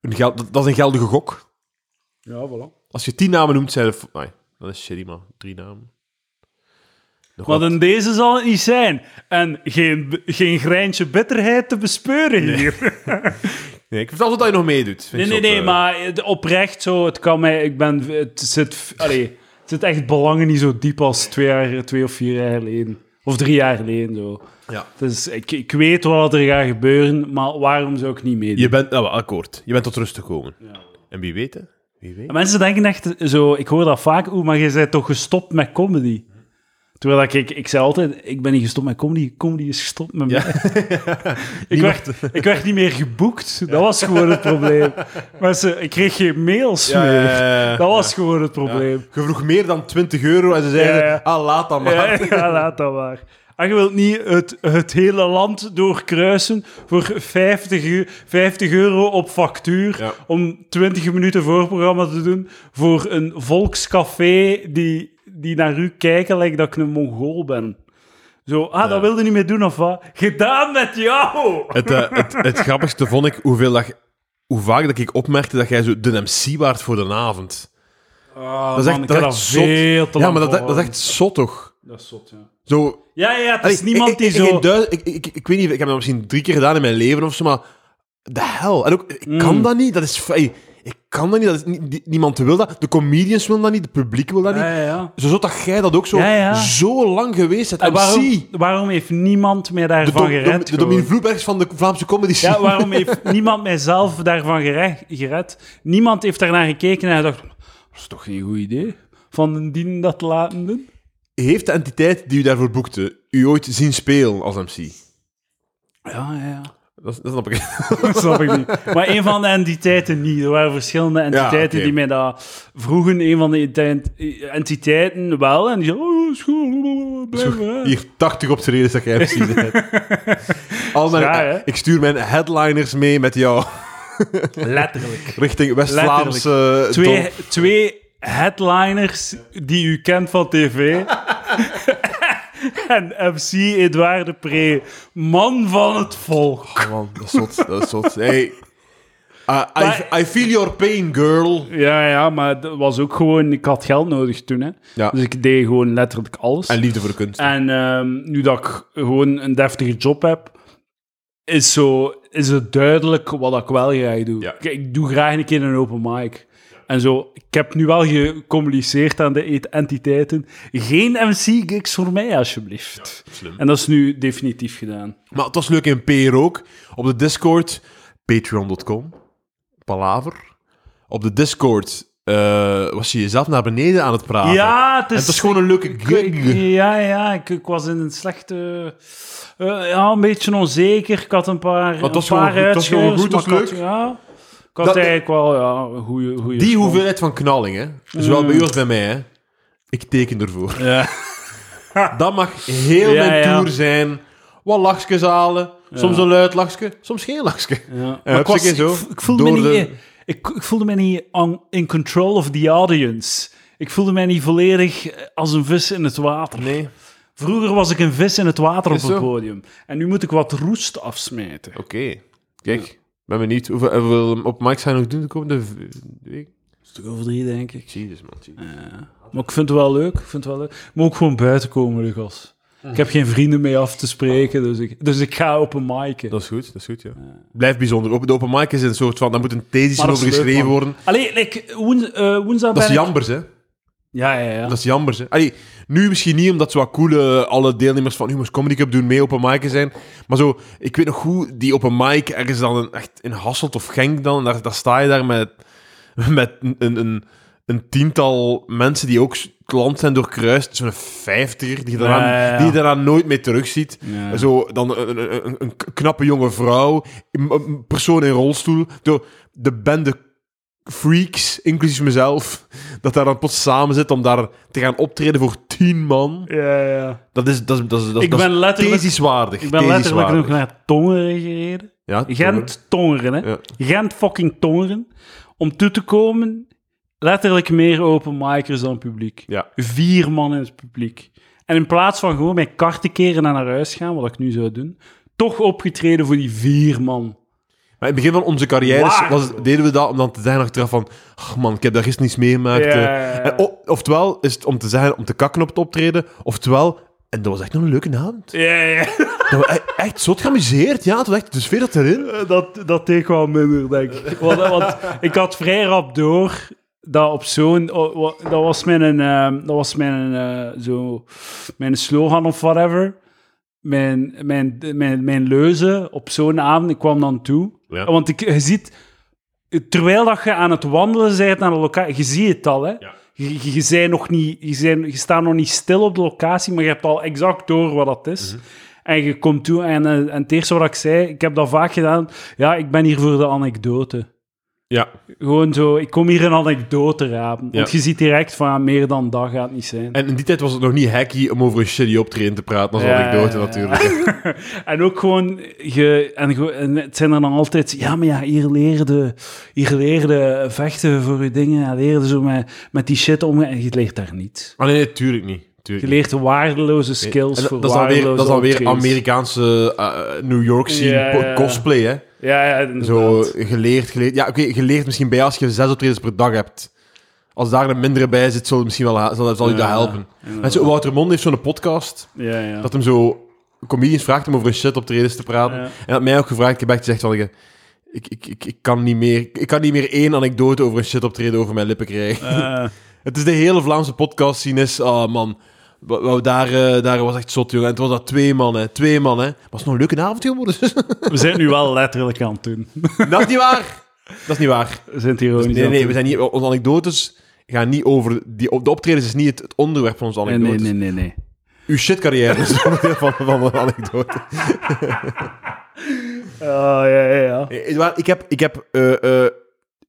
Speaker 2: een geld... Dat, dat is een geldige gok.
Speaker 1: Ja, voilà.
Speaker 2: Als je tien namen noemt, zijn er... Nee, dat is shitty, man. Drie namen. Nog
Speaker 1: Maar
Speaker 2: wat.
Speaker 1: in deze zal het niet zijn. En geen, geen greintje bitterheid te bespeuren
Speaker 2: <laughs>
Speaker 1: hier.
Speaker 2: Nee, ik vertel altijd dat je nog meedoet. Vind
Speaker 1: Nee, nee,
Speaker 2: ik zot,
Speaker 1: nee,
Speaker 2: eh.
Speaker 1: maar oprecht zo, het kan mij, ik ben, het zit, allee, het zit echt belangen niet zo diep als twee, jaar, twee of vier jaar geleden. Of drie jaar geleden, zo.
Speaker 2: Ja.
Speaker 1: Dus ik, ik weet wat er gaat gebeuren, maar waarom zou ik niet meedoen?
Speaker 2: Je bent... Nou, akkoord. Je bent tot rust gekomen. En wie weet, hè? Wie weet.
Speaker 1: En Mensen denken echt zo, ik hoor dat vaak, oeh, maar je bent toch gestopt met comedy? Terwijl dat ik, ik zei altijd, ik ben niet gestopt met comedy, comedy is gestopt met
Speaker 2: Ja.
Speaker 1: mij.
Speaker 2: <laughs>
Speaker 1: ik, werd, ik werd niet meer geboekt, dat was gewoon het
Speaker 2: <laughs>
Speaker 1: probleem. Mensen, ik kreeg geen mails
Speaker 2: Ja,
Speaker 1: meer.
Speaker 2: ja, ja,
Speaker 1: <laughs>
Speaker 2: ja.
Speaker 1: Dat was gewoon het probleem.
Speaker 2: Je vroeg meer dan 20 euro en ze zeiden,
Speaker 1: Ja, ja.
Speaker 2: ah, laat dan maar.
Speaker 1: Ja, <laughs> ja, laat dat maar. En je wilt niet het, het hele land doorkruisen voor 50, eu- 50 euro op factuur
Speaker 2: Ja.
Speaker 1: om 20 minuten voorprogramma te doen voor een volkscafé die, die naar u kijken lijkt dat ik een Mongool ben. Zo, ah, dat wilde niet meer doen of wat? Gedaan met jou!
Speaker 2: Het, eh, het, het grappigste vond ik hoeveel dat, hoe vaak dat ik opmerkte dat jij zo de MC waard voor de avond.
Speaker 1: Ah,
Speaker 2: dat is echt, dat is echt zot. ja, maar dat, dat is echt zot toch?
Speaker 1: Dat is zot, ja.
Speaker 2: Zo,
Speaker 1: Ja, ja, het
Speaker 2: Allee,
Speaker 1: is niemand
Speaker 2: ik-
Speaker 1: die
Speaker 2: ik- ik-
Speaker 1: zo...
Speaker 2: Ik, duid- ik, ik, ik weet niet, ik heb dat misschien drie keer gedaan in mijn leven of zo, maar de hel. En ook, ik
Speaker 1: Mm.
Speaker 2: kan dat niet. Dat is, v- ey, ik kan dat niet. Dat is, niet- die- niemand wil dat. De comedians willen dat niet. Het publiek wil dat niet.
Speaker 1: Ja, ja, ja.
Speaker 2: Zo zot dat jij dat ook zo,
Speaker 1: Ja, ja.
Speaker 2: zo lang geweest bent.
Speaker 1: En
Speaker 2: MC.
Speaker 1: waarom, waarom heeft niemand mij
Speaker 2: de
Speaker 1: daarvan
Speaker 2: dom, dom,
Speaker 1: gered?
Speaker 2: de Domien
Speaker 1: gewoon?
Speaker 2: Vloebergs van de Vlaamse comedy scene.
Speaker 1: ja, waarom <laughs> heeft niemand mijzelf daarvan gere- gered? Niemand heeft daarnaar gekeken en gedacht: dat is toch geen goed idee? Van een dien dat te laten doen?
Speaker 2: Heeft de entiteit die u daarvoor boekte u ooit zien spelen als MC?
Speaker 1: Ja, ja, ja. <laughs>
Speaker 2: Dat, dat snap ik.
Speaker 1: Dat snap ik niet. Maar een van de entiteiten niet. Er waren verschillende entiteiten
Speaker 2: oké.
Speaker 1: die mij dat vroegen. Een van de ent- entiteiten wel. En die zei: Oh, is goed, blijf maar, hè."
Speaker 2: Hier, 80 optredens dat jij MC bent.
Speaker 1: <laughs>
Speaker 2: Al mijn,
Speaker 1: Zwaar, hè?
Speaker 2: ik stuur mijn headliners mee met jou
Speaker 1: Letterlijk.
Speaker 2: richting West-Vlaamse... eh,
Speaker 1: Twee,
Speaker 2: dorp.
Speaker 1: twee headliners die u kent van tv. <laughs> en MC Edouard de Pre, man van het volk.
Speaker 2: Oh man, dat is zot. Dat is zot. Hey. Uh, I-
Speaker 1: Maar-
Speaker 2: I, feel your pain, girl.
Speaker 1: Ja, ja, maar dat was ook gewoon... Ik had geld nodig toen, hè.
Speaker 2: Ja.
Speaker 1: Dus ik deed gewoon letterlijk alles.
Speaker 2: En
Speaker 1: En,
Speaker 2: liefde voor de kunst.
Speaker 1: ehm, nu dat ik gewoon een deftige job heb, is, zo, is het duidelijk wat ik wel graag doe.
Speaker 2: Ja.
Speaker 1: Ik, ik doe graag een keer een open mic. En zo, ik heb nu wel gecommuniceerd aan de et- entiteiten. Geen MC-gigs voor mij, alsjeblieft.
Speaker 2: Slim.
Speaker 1: En dat is nu definitief gedaan.
Speaker 2: Maar het was leuk in PR ook. Op de Discord, patreon.com, palaver. Op de Discord eh, was je jezelf naar beneden aan het praten.
Speaker 1: Ja, het
Speaker 2: Ah, En
Speaker 1: is...
Speaker 2: het was gewoon een leuke
Speaker 1: Ik-
Speaker 2: gig.
Speaker 1: ja, ja, ik, ik was in een slechte... eh, ja, een beetje onzeker. Ik had een paar,
Speaker 2: het was
Speaker 1: een paar
Speaker 2: gewoon goed, het was
Speaker 1: uitgehuist,
Speaker 2: gewoon goed,
Speaker 1: maar
Speaker 2: het
Speaker 1: ik
Speaker 2: was
Speaker 1: had-
Speaker 2: leuk.
Speaker 1: ja, ik had
Speaker 2: Dat-
Speaker 1: eigenlijk wel ja, een goede... goede
Speaker 2: Die
Speaker 1: score.
Speaker 2: hoeveelheid van knalling, hè.
Speaker 1: Mm.
Speaker 2: Zowel bij u als bij mij, hè. Ik teken ervoor.
Speaker 1: Ja.
Speaker 2: Dat mag heel
Speaker 1: Ja,
Speaker 2: mijn
Speaker 1: ja.
Speaker 2: tour zijn. Wat lachjes halen. Soms een luid lachje, soms geen lachje.
Speaker 1: Ja.
Speaker 2: Eh,
Speaker 1: Maar ik, was-
Speaker 2: hupsakee, zo.
Speaker 1: ik vo- ik voelde me
Speaker 2: Door
Speaker 1: niet,
Speaker 2: de-
Speaker 1: eh, ik, ik voelde me niet on- in control of the audience. Ik voelde mij niet volledig eh, als een vis in het water.
Speaker 2: Nee.
Speaker 1: Vroeger was ik een vis in het water
Speaker 2: Is
Speaker 1: op het
Speaker 2: zo.
Speaker 1: podium. En nu moet ik wat roest afsmijten.
Speaker 2: Oké. Kijk, ben benieuwd. Hoeveel, hoeveel op Mike zijn we nog doen de komende v- week?
Speaker 1: Een stuk over drie, denk ik.
Speaker 2: Jezus, man. Jezus.
Speaker 1: Maar ik vind het wel leuk. Ik vind het wel leuk. Ik moet ook gewoon buiten komen, Lucas. Ik heb geen vrienden mee af te spreken, dus ik, dus ik ga open micen.
Speaker 2: Dat is goed, dat is goed, ja. Blijft bijzonder. Op de open mic is een soort van... Daar moet een thesis
Speaker 1: Maar dat
Speaker 2: over
Speaker 1: is leuk,
Speaker 2: geschreven
Speaker 1: man.
Speaker 2: worden.
Speaker 1: Allee, like, woens- eh, woensdag
Speaker 2: Dat is
Speaker 1: ben ik-
Speaker 2: jambers, hè.
Speaker 1: Ja, ja, ja.
Speaker 2: Dat is jambers, hè. Allee, nu misschien niet, omdat zo wat coole alle deelnemers van Humors Comedy Cup doen mee open micen zijn. Maar zo, ik weet nog goed, die open mic ergens dan een, echt in Hasselt of Genk dan. en Daar, daar sta je daar met, <laughs> met een, een, een tiental mensen die ook klant zijn doorkruist. Zo'n vijftiger die je daaraan,
Speaker 1: Ja, ja, ja.
Speaker 2: Die je daaraan nooit meer terugziet.
Speaker 1: Ja.
Speaker 2: Zo, dan een, een, een- een knappe jonge vrouw, een- een persoon in rolstoel. Door de bende freaks, inclusief mezelf, dat daar dan plots samen zit om daar te gaan optreden voor tien man.
Speaker 1: ja, ja.
Speaker 2: Dat is, dat is, dat is, dat is,
Speaker 1: Ik ben letterlijk-
Speaker 2: thesiswaardig.
Speaker 1: Ik ben letterlijk nog
Speaker 2: thesiswaardig.
Speaker 1: naar Tongeren gereden.
Speaker 2: Ja,
Speaker 1: Gent Tongeren, hè.
Speaker 2: Ja.
Speaker 1: Gent fucking Tongeren. Om toe te komen, letterlijk meer open micers dan publiek.
Speaker 2: Ja.
Speaker 1: Vier man in het publiek. En in plaats van gewoon mijn kar te keren en naar huis gaan, wat ik nu zou doen, toch opgetreden voor die vier man.
Speaker 2: Maar in het begin van onze carrières
Speaker 1: Waar,
Speaker 2: was,
Speaker 1: bro.
Speaker 2: deden we dat om dan te zeggen achteraf van... "Ach, man, ik heb daar gisteren niets meegemaakt.
Speaker 1: Ja,
Speaker 2: eh."
Speaker 1: ja, ja.
Speaker 2: En o- oftewel is het om te zeggen, om te kakken op het optreden. Oftewel, en dat was echt nog een leuke avond.
Speaker 1: Ja, ja.
Speaker 2: Dat was e- echt zot geamuseerd, ja. Het was echt, de sfeer dat erin.
Speaker 1: Eh, Dat, dat deed ik wel minder, denk ik. Want, want ik had vrij rap door dat op zo'n... oh, wa- Dat was mijn, eh, dat was mijn, eh, zo, mijn slogan of whatever. Mijn, mijn, mijn, mijn leuze op zo'n avond. Ik kwam dan toe.
Speaker 2: Ja.
Speaker 1: Want ik, je ziet... Terwijl dat je aan het wandelen bent naar de locatie... Je ziet het al, hè. Je, je, je bent nog niet, je, zijn, je staat nog niet stil op de locatie, maar je hebt al exact door wat dat is. En je komt toe en, eh, en het eerste wat ik zei, ik heb dat vaak gedaan, ja, ik ben hier voor de anekdote.
Speaker 2: Ja,
Speaker 1: Gewoon zo, ik kom hier een anekdote rapen. Want
Speaker 2: Ja.
Speaker 1: je ziet direct van, ja, meer dan dat gaat het niet zijn.
Speaker 2: en in die tijd was het nog niet hacky om over een shitty optreden te praten. als
Speaker 1: Ja,
Speaker 2: anekdote
Speaker 1: ja, ja. <laughs>
Speaker 2: natuurlijk.
Speaker 1: En ook gewoon, je, en, ge- en het zijn er dan altijd, ja, maar ja, hier leerde, hier leerde vechten voor je dingen, ja, leerde zo met, met die shit omgaan, en je leert daar niet.
Speaker 2: Ah, nee, nee, tuurlijk niet. Tuurlijk
Speaker 1: Je leert waardeloze skills
Speaker 2: En dat-
Speaker 1: voor
Speaker 2: dat is alweer,
Speaker 1: waardeloze
Speaker 2: dat is alweer
Speaker 1: optredens.
Speaker 2: Amerikaanse eh, New York scene
Speaker 1: Ja,
Speaker 2: po-
Speaker 1: ja, ja.
Speaker 2: cosplay, hè?
Speaker 1: Ja, ja,
Speaker 2: Zo
Speaker 1: inderdaad.
Speaker 2: geleerd, geleerd. Ja, oké, geleerd misschien bij als je zes optredens per dag hebt. Als daar een mindere bij zit, zal het misschien wel ha- zal, zal je dat
Speaker 1: Ja,
Speaker 2: helpen.
Speaker 1: inderdaad.
Speaker 2: En zo, Wouter Mond heeft zo'n podcast
Speaker 1: Ja, ja.
Speaker 2: dat hem zo comedians vraagt om over een shit optredens te praten.
Speaker 1: Ja.
Speaker 2: En dat mij ook gevraagd, ik heb echt gezegd van ik, ik, ik, ik, ik kan niet meer, ik kan niet meer één anekdote over een shit optreden over mijn lippen krijgen.
Speaker 1: Eh,
Speaker 2: Het is de hele Vlaamse podcast zien is, ah man, wa- wa- daar, eh, daar was echt zot, jongen. En het was dat twee mannen, twee mannen. Was nog een leuke avond <laughs> geworden.
Speaker 1: we zijn nu wel letterlijk aan het doen. <laughs>
Speaker 2: dat is niet waar. Dat is niet waar.
Speaker 1: We zijn het hier ook niet
Speaker 2: Nee,
Speaker 1: aan
Speaker 2: nee, we
Speaker 1: het
Speaker 2: zijn niet, onze anekdotes gaan niet over, die, op- de optredens is niet het, het onderwerp van onze
Speaker 1: doen.
Speaker 2: anekdotes.
Speaker 1: nee, nee, nee, nee.
Speaker 2: Uw shitcarrière <laughs> is onderdeel van, van de anekdote.
Speaker 1: Oh, ja, ja, ja.
Speaker 2: Nee, Edouard, Ik heb, ik heb, eh, eh,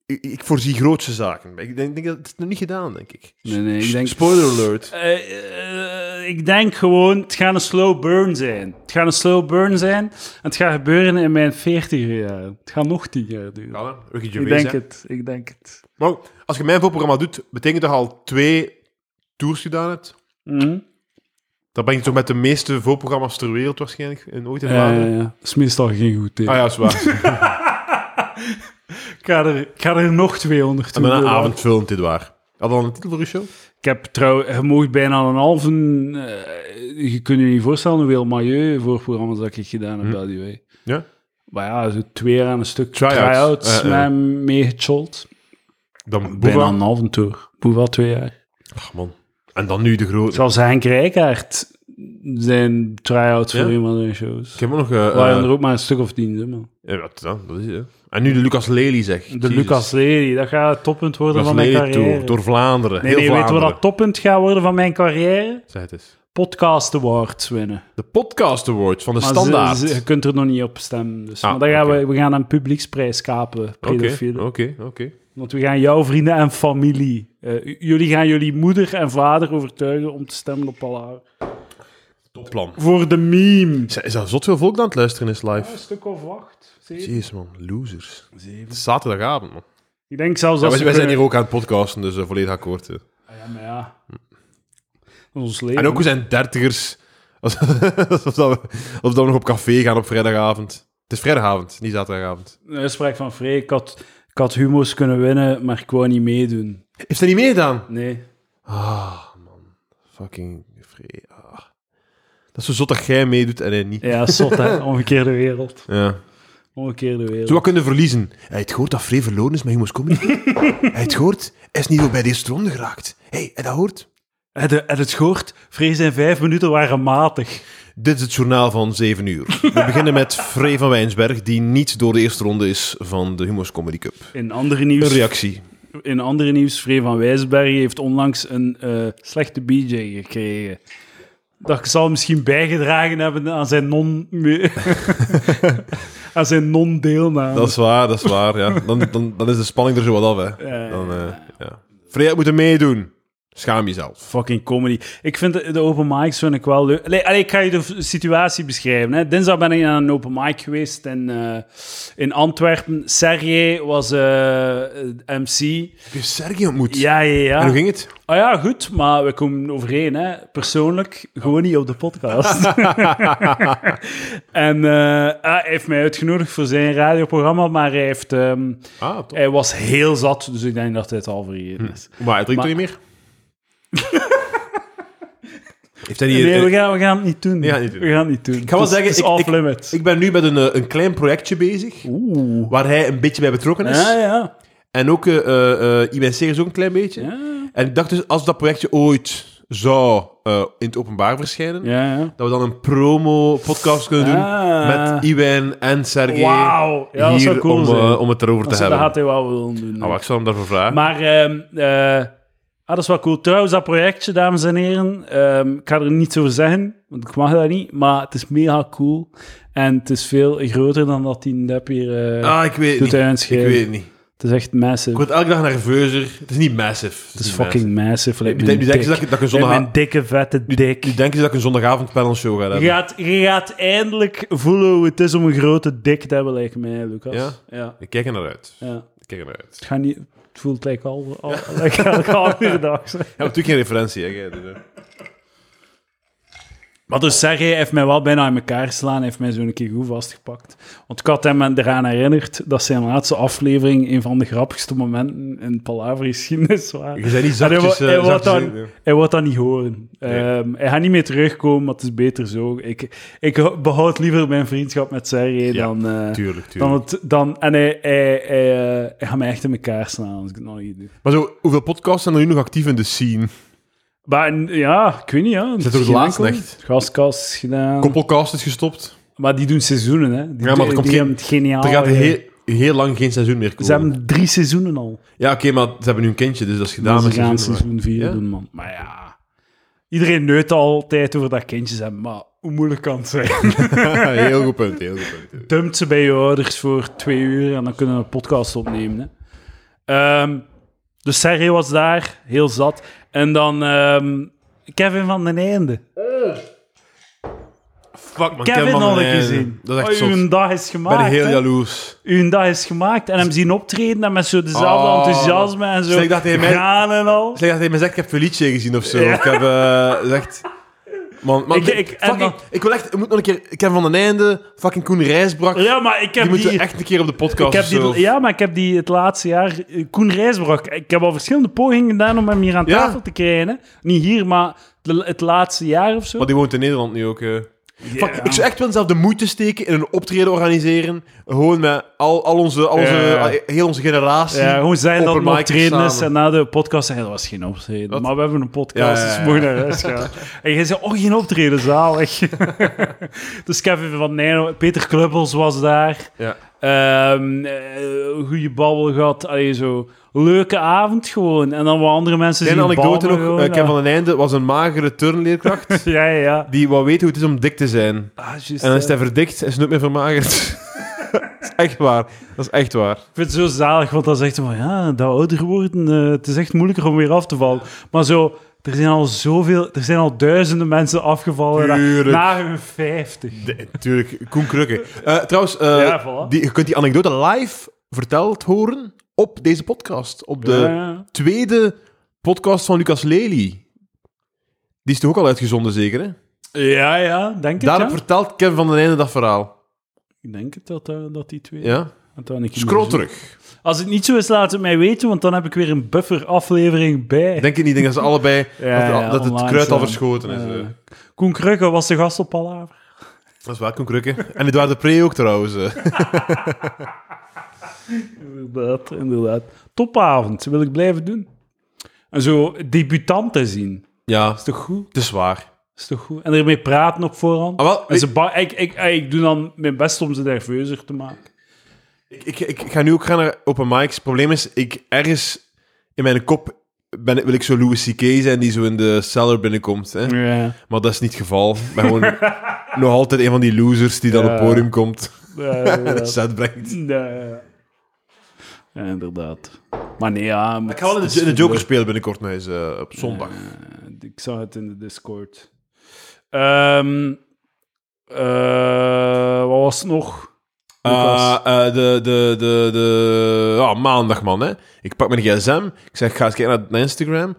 Speaker 2: ik, ik voorzie grootste zaken. Ik denk, denk dat het is nog niet gedaan, denk ik.
Speaker 1: Nee, nee, ik denk-
Speaker 2: Spoiler alert.
Speaker 1: Eh, eh, ik denk gewoon, het gaat een slow burn zijn. Het gaat een slow burn zijn. En het gaat gebeuren in mijn 40 jaar. Het gaat nog 10 jaar duren.
Speaker 2: Ja, Ricky
Speaker 1: ik
Speaker 2: Gervais,
Speaker 1: denk
Speaker 2: hè.
Speaker 1: het, ik denk het.
Speaker 2: Maar ook, als je mijn voorprogramma doet, betekent dat je al twee tours gedaan hebt.
Speaker 1: Mhm.
Speaker 2: Dan ben je toch met de meeste voorprogramma's ter wereld waarschijnlijk in, ooit in
Speaker 1: Ja, ja,
Speaker 2: Vlaanderen.
Speaker 1: Eh, ja. Dat is meestal geen goed teken.
Speaker 2: Ah
Speaker 1: <laughs>
Speaker 2: ja, zwaar.
Speaker 1: ik, ga er, ik ga er nog 200
Speaker 2: En met een
Speaker 1: doen.
Speaker 2: avondfilm, dit waar. Had al een titel voor je show?
Speaker 1: Ik heb trouwens, je mocht bijna een halve. eh, je kunt je niet voorstellen hoeveel milieu voor programma's dat ik gedaan heb, by the way.
Speaker 2: Ja.
Speaker 1: Maar ja, zo twee jaar aan een stuk
Speaker 2: Hm. Try-outs.
Speaker 1: try-outs
Speaker 2: Eh, eh.
Speaker 1: met meegechold.
Speaker 2: Dan
Speaker 1: Bijna
Speaker 2: Boeva.
Speaker 1: een halve tour. Boeva twee jaar.
Speaker 2: Ach man. En dan nu de grote.
Speaker 1: Zoals Henk Rijkaard zijn try-outs
Speaker 2: Ja?
Speaker 1: voor een van zijn shows.
Speaker 2: Ik heb ook nog... eh, eh,
Speaker 1: Waren er ook maar een stuk of tien, hè, man.
Speaker 2: ja, wat dan? Dat is het, hè. En nu de Lucas Lely, zeg.
Speaker 1: De Lucas Lely, dat gaat het toppunt worden van mijn
Speaker 2: Lely
Speaker 1: carrière.
Speaker 2: Tour. Door Vlaanderen.
Speaker 1: nee,
Speaker 2: Heel
Speaker 1: nee, weet je wat
Speaker 2: Vlaanderen.
Speaker 1: dat toppunt gaat worden van mijn carrière?
Speaker 2: Zeg het eens.
Speaker 1: Podcast awards winnen.
Speaker 2: De Podcast Awards van de
Speaker 1: Maar
Speaker 2: Standaard.
Speaker 1: Ah, ze- ze- je kunt er nog niet op stemmen. Dus.
Speaker 2: Ah,
Speaker 1: maar dan gaan
Speaker 2: oké.
Speaker 1: we, we gaan een publieksprijs kapen,
Speaker 2: Oké, oh.
Speaker 1: pedofielen.
Speaker 2: oké, oké.
Speaker 1: Want we gaan jouw vrienden en familie... eh, j- jullie gaan jullie moeder en vader overtuigen om te stemmen op Palaar.
Speaker 2: Topplan.
Speaker 1: Voor de meme.
Speaker 2: Zijn- Is dat zot veel volk aan het luisteren is live?
Speaker 1: Een stuk of acht, zeven.
Speaker 2: Jezus, man. Losers. Het is zaterdagavond, man.
Speaker 1: Ik denk zelfs
Speaker 2: Ja,
Speaker 1: dat
Speaker 2: wij,
Speaker 1: ze
Speaker 2: wij zijn hier
Speaker 1: kunnen-
Speaker 2: ook aan het podcasten, dus eh, volledig akkoord. hè.
Speaker 1: Ah, Ja, maar ja. Dat is ons leven.
Speaker 2: En ook, we zijn dertigers. <laughs> Als- Alsof dat we, of dat we nog op café gaan op vrijdagavond. Het is vrijdagavond, niet zaterdagavond.
Speaker 1: Een uitspraak van Frey. Ik had, ik had humo's kunnen winnen, maar ik wou niet meedoen.
Speaker 2: Heeft hij niet meegedaan?
Speaker 1: Nee.
Speaker 2: Ah, man. Fucking vrij. Ah. Dat Dat is zo zot dat jij meedoet en hij niet.
Speaker 1: Ja, zot
Speaker 2: <laughs>
Speaker 1: hè. Omgekeerde wereld.
Speaker 2: Ja.
Speaker 1: Omgekeerde wereld.
Speaker 2: Zo wat kunnen verliezen. Hij heeft gehoord dat Frey verloren is met Humo's Comedy. <laughs> Hij heeft gehoord, hij is niet door bij de eerste ronde geraakt. Hé, hey, heb je dat hoort?
Speaker 1: En, de, en het gehoord, vrees in vijf minuten waren matig.
Speaker 2: Dit is het journaal van 7 uur. We beginnen met Frey van Wijnsberg, die niet door de eerste ronde is van de Humo's Comedy Cup. Dus
Speaker 1: In andere
Speaker 2: Een
Speaker 1: nieuws,
Speaker 2: reactie.
Speaker 1: in andere nieuws Free van Wijsbergen heeft onlangs een eh, slechte BJ gekregen. Dat zal misschien bijgedragen hebben aan zijn non... <laughs> aan zijn non-deelname.
Speaker 2: Dat is waar, dat is waar. Ja. Dan, dan, dan is de spanning er zo wat af. Hè.
Speaker 1: Ja,
Speaker 2: Dan, eh ja. Frey had moeten meedoen. Schaam jezelf.
Speaker 1: Fucking comedy. Ik vind de, de open mics vind ik wel leuk. Allee, allee, ik ga je de v- situatie beschrijven. Hè. Dinsdag ben ik aan een open mic geweest in, eh, in Antwerpen. Sergej was eh, MC.
Speaker 2: Heb je Sergio ontmoet?
Speaker 1: Ja, ja, ja.
Speaker 2: En hoe ging het?
Speaker 1: Ah ja, goed, maar we komen overeen, hè. Persoonlijk, gewoon niet op de
Speaker 2: <laughs>
Speaker 1: podcast. en eh, ah, hij heeft mij uitgenodigd voor zijn radioprogramma, maar hij, heeft, ehm,
Speaker 2: Ah, top.
Speaker 1: hij was heel zat, dus ik denk dat hij het al vergeten is.
Speaker 2: Maar hij drinkt
Speaker 1: Maar-
Speaker 2: toch niet meer? Heeft hij niet...
Speaker 1: Nee, we gaan, we gaan het niet doen.
Speaker 2: eh, gaan het niet doen.
Speaker 1: We gaan het niet doen. Ik
Speaker 2: ga wel zeggen,
Speaker 1: het is
Speaker 2: ik-
Speaker 1: off limit.
Speaker 2: Ik ben nu met een, eh, een klein projectje bezig,
Speaker 1: Oeh.
Speaker 2: waar hij een beetje bij betrokken is.
Speaker 1: Ja, ja.
Speaker 2: En ook eh eh, eh, IBNC is ook een klein beetje.
Speaker 1: Ja,
Speaker 2: En ik dacht dus, als dat projectje ooit zou eh, in het openbaar verschijnen,
Speaker 1: ja. ja.
Speaker 2: dat we dan een promo-podcast kunnen doen
Speaker 1: Ah.
Speaker 2: met Iwan en Sergey
Speaker 1: Wauw. Ja, dat
Speaker 2: hier
Speaker 1: zou cool
Speaker 2: om, eh,
Speaker 1: zijn.
Speaker 2: om het erover te
Speaker 1: dat zou- dat
Speaker 2: hebben.
Speaker 1: gaat hij wel willen doen.
Speaker 2: Ah, maar ik zal hem daarvoor vragen.
Speaker 1: Maar ehm, eh, ah, dat is wel cool. Trouwens, dat projectje, dames en heren. ehm, ik ga er niets over zeggen, want ik mag dat niet. Maar het is mega cool. En het is veel groter dan dat die nep hier eh,
Speaker 2: ah, ik weet het
Speaker 1: doet
Speaker 2: niet. Ik
Speaker 1: uitschrijven.
Speaker 2: weet het niet.
Speaker 1: Het is echt massive.
Speaker 2: Ik word elke dag nerveuzer. Het is niet massive.
Speaker 1: het is
Speaker 2: niet
Speaker 1: fucking massive.
Speaker 2: massive.
Speaker 1: Like
Speaker 2: Nu, denk- nu
Speaker 1: mijn
Speaker 2: denken ze dat
Speaker 1: dik.
Speaker 2: ik, dat ik een
Speaker 1: Like
Speaker 2: zondag...
Speaker 1: mijn dikke, vette dik.
Speaker 2: Nu denken ze dat ik een zondagavond panelshow ga hebben.
Speaker 1: Je gaat, je gaat eindelijk voelen hoe het is om een grote dik te hebben, lijkt mij, Lucas.
Speaker 2: Ja?
Speaker 1: Ja.
Speaker 2: Ik kijk er naar uit.
Speaker 1: ja.
Speaker 2: Ik kijk er naar uit.
Speaker 1: Het, gaat niet, het voelt like al, al, like elke andere dag. zeg.
Speaker 2: Ja, natuurlijk geen referentie, hè. jij, dus, hè.
Speaker 1: Maar dus Sergej heeft mij wel bijna in elkaar geslaan. Hij heeft mij zo'n keer goed vastgepakt. Want ik had hem eraan herinnerd dat zijn laatste aflevering een van de grappigste momenten in Palaver-geschiedenis was.
Speaker 2: Je bent niet
Speaker 1: En hij,
Speaker 2: zachtjes...
Speaker 1: wa-
Speaker 2: eh,
Speaker 1: hij wordt
Speaker 2: zachtjes-
Speaker 1: dan, hij wordt dat niet horen. Ehm, hij gaat niet meer terugkomen, maar het is beter zo. Ik, ik behoud liever mijn vriendschap met Sergej
Speaker 2: Ja,
Speaker 1: dan... eh,
Speaker 2: Tuurlijk,
Speaker 1: Dan
Speaker 2: tuurlijk.
Speaker 1: het, dan, en hij, hij, hij, eh, hij gaat mij echt in elkaar slaan als ik het nog niet doe.
Speaker 2: Maar zo, hoeveel podcasts zijn er nu nog actief in de scene?
Speaker 1: Maar en, ja, ik weet niet. Ja.
Speaker 2: Zit er ook de laatste echt?
Speaker 1: Gaskast is gedaan.
Speaker 2: Koppelcast is gestopt.
Speaker 1: Maar die doen seizoenen, hè. Die,
Speaker 2: Ja, maar er
Speaker 1: die
Speaker 2: komt
Speaker 1: hebben
Speaker 2: geen-
Speaker 1: het geniaal.
Speaker 2: er gaat
Speaker 1: gedaan.
Speaker 2: heel, heel lang geen seizoen meer komen.
Speaker 1: Oh, Ze hebben drie seizoenen al.
Speaker 2: Ja, oké, maar ze hebben nu een kindje, dus dat is gedaan
Speaker 1: Maar ze
Speaker 2: met
Speaker 1: gaan
Speaker 2: seizoen.
Speaker 1: seizoen vier
Speaker 2: Ja?
Speaker 1: doen, man. Maar ja... Iedereen neut altijd over dat kindjes hebben, maar hoe moeilijk kan het zijn?
Speaker 2: <laughs> heel goed punt, heel goed punt.
Speaker 1: Dumpt ze bij je ouders voor twee uur en dan kunnen we een podcast opnemen, hè. Ehm, dus Sergio was daar, heel zat. En dan ehm, Kevin van den Einde.
Speaker 2: Fuck, man. eh,
Speaker 1: Kevin had
Speaker 2: Kevin van
Speaker 1: ik
Speaker 2: den Einde.
Speaker 1: gezien.
Speaker 2: Dat is echt
Speaker 1: Oh,
Speaker 2: zot.
Speaker 1: uw dag is
Speaker 2: Ik ben
Speaker 1: gemaakt.
Speaker 2: heel
Speaker 1: hè.
Speaker 2: jaloers.
Speaker 1: Uw dag is gemaakt. En hem zien optreden en met zo dezelfde
Speaker 2: Oh.
Speaker 1: enthousiasme en zo.
Speaker 2: Dus ik dacht dat hij mij-
Speaker 1: Gaan en al.
Speaker 2: Zeg dat hij me zegt, ik heb Felice gezien of zo.
Speaker 1: Ja.
Speaker 2: Ik heb eh, gezegd... Man, man
Speaker 1: Ik-
Speaker 2: fuck,
Speaker 1: ik-
Speaker 2: ik,
Speaker 1: en dan-
Speaker 2: ik wil echt... Ik moet nog een keer... Ik heb van den einde... Fucking Koen Rijsbrak.
Speaker 1: Ja, maar ik
Speaker 2: die
Speaker 1: heb
Speaker 2: moeten
Speaker 1: die...
Speaker 2: we echt een keer op de podcast
Speaker 1: ik heb
Speaker 2: of
Speaker 1: die
Speaker 2: zo.
Speaker 1: ja, maar ik heb die het laatste jaar... eh, Koen Rijsbroek. Ik heb al verschillende pogingen gedaan om hem hier aan
Speaker 2: Ja.
Speaker 1: tafel te krijgen. Hè. Niet hier, maar het, het laatste jaar of zo.
Speaker 2: Maar die woont in Nederland nu ook. eh.
Speaker 1: Ja.
Speaker 2: Fuck, ik zou echt wel zelf de moeite steken in een optreden organiseren. Gewoon met al, al onze, al onze,
Speaker 1: Ja.
Speaker 2: al- heel onze generatie.
Speaker 1: Ja, gewoon zeggen dat het
Speaker 2: Open
Speaker 1: een
Speaker 2: mic
Speaker 1: optreden is
Speaker 2: samen.
Speaker 1: en na de podcast zeggen dat was geen optreden.
Speaker 2: Wat?
Speaker 1: Maar we hebben een podcast,
Speaker 2: Ja, ja,
Speaker 1: dus
Speaker 2: ja.
Speaker 1: we mogen naar huis gaan. En jij zei, oh, geen optreden, zalig. <laughs> dus Kevin van Nijno, Peter Klubbels was daar.
Speaker 2: Ja.
Speaker 1: Ehm, eh, een goede babbel gehad. Allee, zo. Leuke avond gewoon. En dan wat andere mensen
Speaker 2: Kleine
Speaker 1: zien
Speaker 2: anekdote nog.
Speaker 1: babbelen
Speaker 2: eh,
Speaker 1: gewoon.
Speaker 2: Ken van den Einde was een
Speaker 1: <laughs>
Speaker 2: magere turnleerkracht
Speaker 1: Ja, ja, ja.
Speaker 2: die wou weten hoe het is om dik te zijn. En
Speaker 1: Ah, juist,
Speaker 2: dan
Speaker 1: ja.
Speaker 2: is hij verdikt en is nooit meer vermagerd. <laughs> dat is echt waar. Dat is echt waar.
Speaker 1: Ik vind het zo zalig, want dan zegt ze van ja, dat ouder worden, eh, het is echt moeilijker om weer af te vallen. Maar zo, er zijn al zoveel, er zijn al duizenden mensen afgevallen na-
Speaker 2: Tuurlijk.
Speaker 1: na hun vijftig.
Speaker 2: Natuurlijk, Koen Krukke. Eh, trouwens, eh,
Speaker 1: Ja, voilà.
Speaker 2: die, je kunt die anekdote live verteld horen op deze podcast. Op de
Speaker 1: Ja.
Speaker 2: tweede podcast van Lucas Lely. Die is toch ook al uitgezonden, zeker? Hè?
Speaker 1: ja, ja, denk het,
Speaker 2: Daarop
Speaker 1: ja.
Speaker 2: vertelt Kevin van den Einde dat verhaal.
Speaker 1: Ik denk het dat, eh, dat die twee...
Speaker 2: Ja?
Speaker 1: Want dan heb ik
Speaker 2: Scroll
Speaker 1: hem
Speaker 2: terug.
Speaker 1: gezien. Als het niet zo is, laat het mij weten, want dan heb ik weer een buffer aflevering bij.
Speaker 2: Ik denk het niet, ik denk dat ze allebei
Speaker 1: <laughs> Ja,
Speaker 2: dat,
Speaker 1: ja,
Speaker 2: dat het
Speaker 1: online
Speaker 2: kruid al
Speaker 1: staan.
Speaker 2: verschoten is.
Speaker 1: Ja.
Speaker 2: eh.
Speaker 1: Koen Krugge was de gast op Palaver.
Speaker 2: Dat is waar, Koen Krukke. <laughs> En Edouard de Pre ook trouwens. eh. <laughs>
Speaker 1: Inderdaad, inderdaad. Topavond, wil ik blijven doen. En zo debutanten zien.
Speaker 2: Ja,
Speaker 1: Is toch goed?
Speaker 2: het is waar.
Speaker 1: Is toch goed? En ermee praten op voorhand.
Speaker 2: Ah, wel,
Speaker 1: en ze ba- ik, ik, ik, doe dan mijn best om ze nerveuzer te maken.
Speaker 2: Ik, ik, ik ga nu ook gaan naar open mics. Het probleem is, ik ergens in mijn kop ben, ik- wil ik zo Louis C.K. zijn die zo in de cellar binnenkomt. Hè?
Speaker 1: Ja.
Speaker 2: Maar dat is niet het geval. Ik ben gewoon
Speaker 1: <laughs>
Speaker 2: nog altijd een van die losers die dan op
Speaker 1: Ja.
Speaker 2: het podium komt
Speaker 1: Ja,
Speaker 2: en
Speaker 1: <laughs> inderdaad.
Speaker 2: het set brengt.
Speaker 1: Ja, ja, ja. Ja, inderdaad. Maar nee, ja...
Speaker 2: Ik ga wel in de, in de Joker spelen binnenkort met ze op zondag.
Speaker 1: Ik zag het in de Discord. Ehm, eh, wat was het nog? Lucas.
Speaker 2: Eh, eh, de, de, de, de, ja, maandag, man. Hè. Ik pak mijn gsm. Ik zeg, ga eens kijken naar- naar Instagram.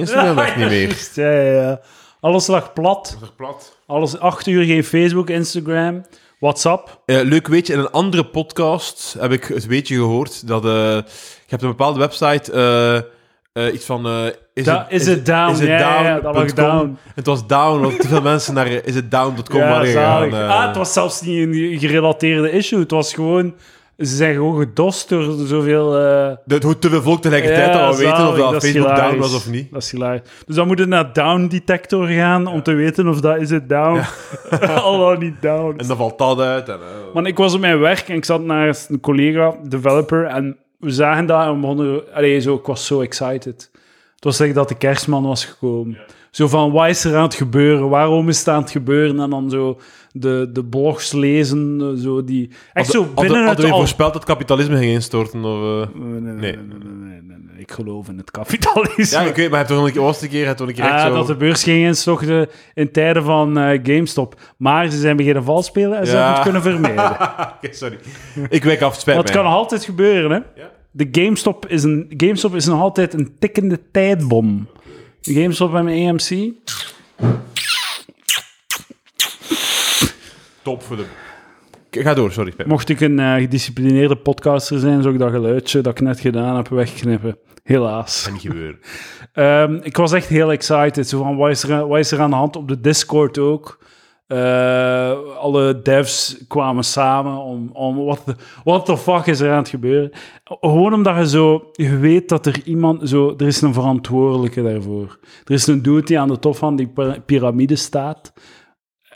Speaker 1: <laughs>
Speaker 2: Instagram werkt niet meer.
Speaker 1: Juist, ja, ja, ja. Alles lag plat.
Speaker 2: Plat.
Speaker 1: Alles acht uur geen Facebook, Instagram, WhatsApp.
Speaker 2: Eh, leuk weetje, in een andere podcast heb ik het weetje gehoord dat eh, je hebt een bepaalde website, eh, eh, iets van... eh, is,
Speaker 1: Da-
Speaker 2: het,
Speaker 1: is it down? Ja, ja, ja, dat lag
Speaker 2: punt com.
Speaker 1: down.
Speaker 2: Het was down, want te veel <laughs> mensen naar eh, isitdown.com
Speaker 1: ja,
Speaker 2: waren gegaan.
Speaker 1: zalig.
Speaker 2: eh.
Speaker 1: Ah, het was zelfs niet een gerelateerde issue. Het was gewoon... Ze zijn gewoon gedost door zoveel... eh,
Speaker 2: Dat hoe te veel volk tegelijkertijd
Speaker 1: Ja,
Speaker 2: al weten of
Speaker 1: zalig,
Speaker 2: dat,
Speaker 1: dat is
Speaker 2: Facebook down
Speaker 1: hilarisch.
Speaker 2: was of niet.
Speaker 1: Dat is hilarisch. Dus dan moet je naar Down Detector gaan om te weten of dat is het down. <laughs> Al dan niet down.
Speaker 2: En dan valt dat uit. En, eh,
Speaker 1: Want ik was op mijn werk en ik zat naast een collega, developer, en we zagen dat en we begonnen... Allee, zo, ik was zo excited. Het was echt dat de kerstman was gekomen. Zo van, wat is er aan het gebeuren? Waarom is het aan het gebeuren? En dan zo de, de blogs lezen, eh, zo die... Echt
Speaker 2: hadden-
Speaker 1: zo binnen
Speaker 2: hadden,
Speaker 1: het
Speaker 2: hadden we
Speaker 1: al-
Speaker 2: voorspeld dat kapitalisme ging instorten? Of, eh?
Speaker 1: Nee, nee,
Speaker 2: Nee.
Speaker 1: nee, nee, nee, nee, nee. Ik geloof in het kapitalisme.
Speaker 2: Ja,
Speaker 1: <laughs>
Speaker 2: ik weet, maar je hebt toch nog een keer, was het een keer, je hebt toch een keer echt
Speaker 1: Ja,
Speaker 2: zo...
Speaker 1: Ah, dat de beurs ging instorten in tijden van eh, GameStop. Maar ze zijn beginnen valspelen en ze
Speaker 2: Ja.
Speaker 1: hebben het kunnen <laughs> vermijden.
Speaker 2: <laughs> Oké, sorry. Ik wijk af, het spijt
Speaker 1: Want het kan
Speaker 2: mij.
Speaker 1: nog altijd gebeuren, hè.
Speaker 2: Ja.
Speaker 1: De GameStop is, een, GameStop is nog altijd een tikkende tijdbom. GameStop en AMC.
Speaker 2: Top voor de... K- Ga door, sorry. spijt me.
Speaker 1: Mocht ik een eh, gedisciplineerde podcaster zijn, zou ik dat geluidje dat ik net gedaan heb wegknippen. Helaas.
Speaker 2: Kan niet gebeuren.
Speaker 1: Ehm, ik was echt heel excited. Zo van, wat is, er, wat is er aan de hand op de Discord ook? Eh, alle devs kwamen samen om... om what, the, what the fuck is er aan het gebeuren? Gewoon omdat je zo... Je weet dat er iemand... Zo, er is een verantwoordelijke daarvoor. Er is een dude die aan de top van die pir- piramide staat.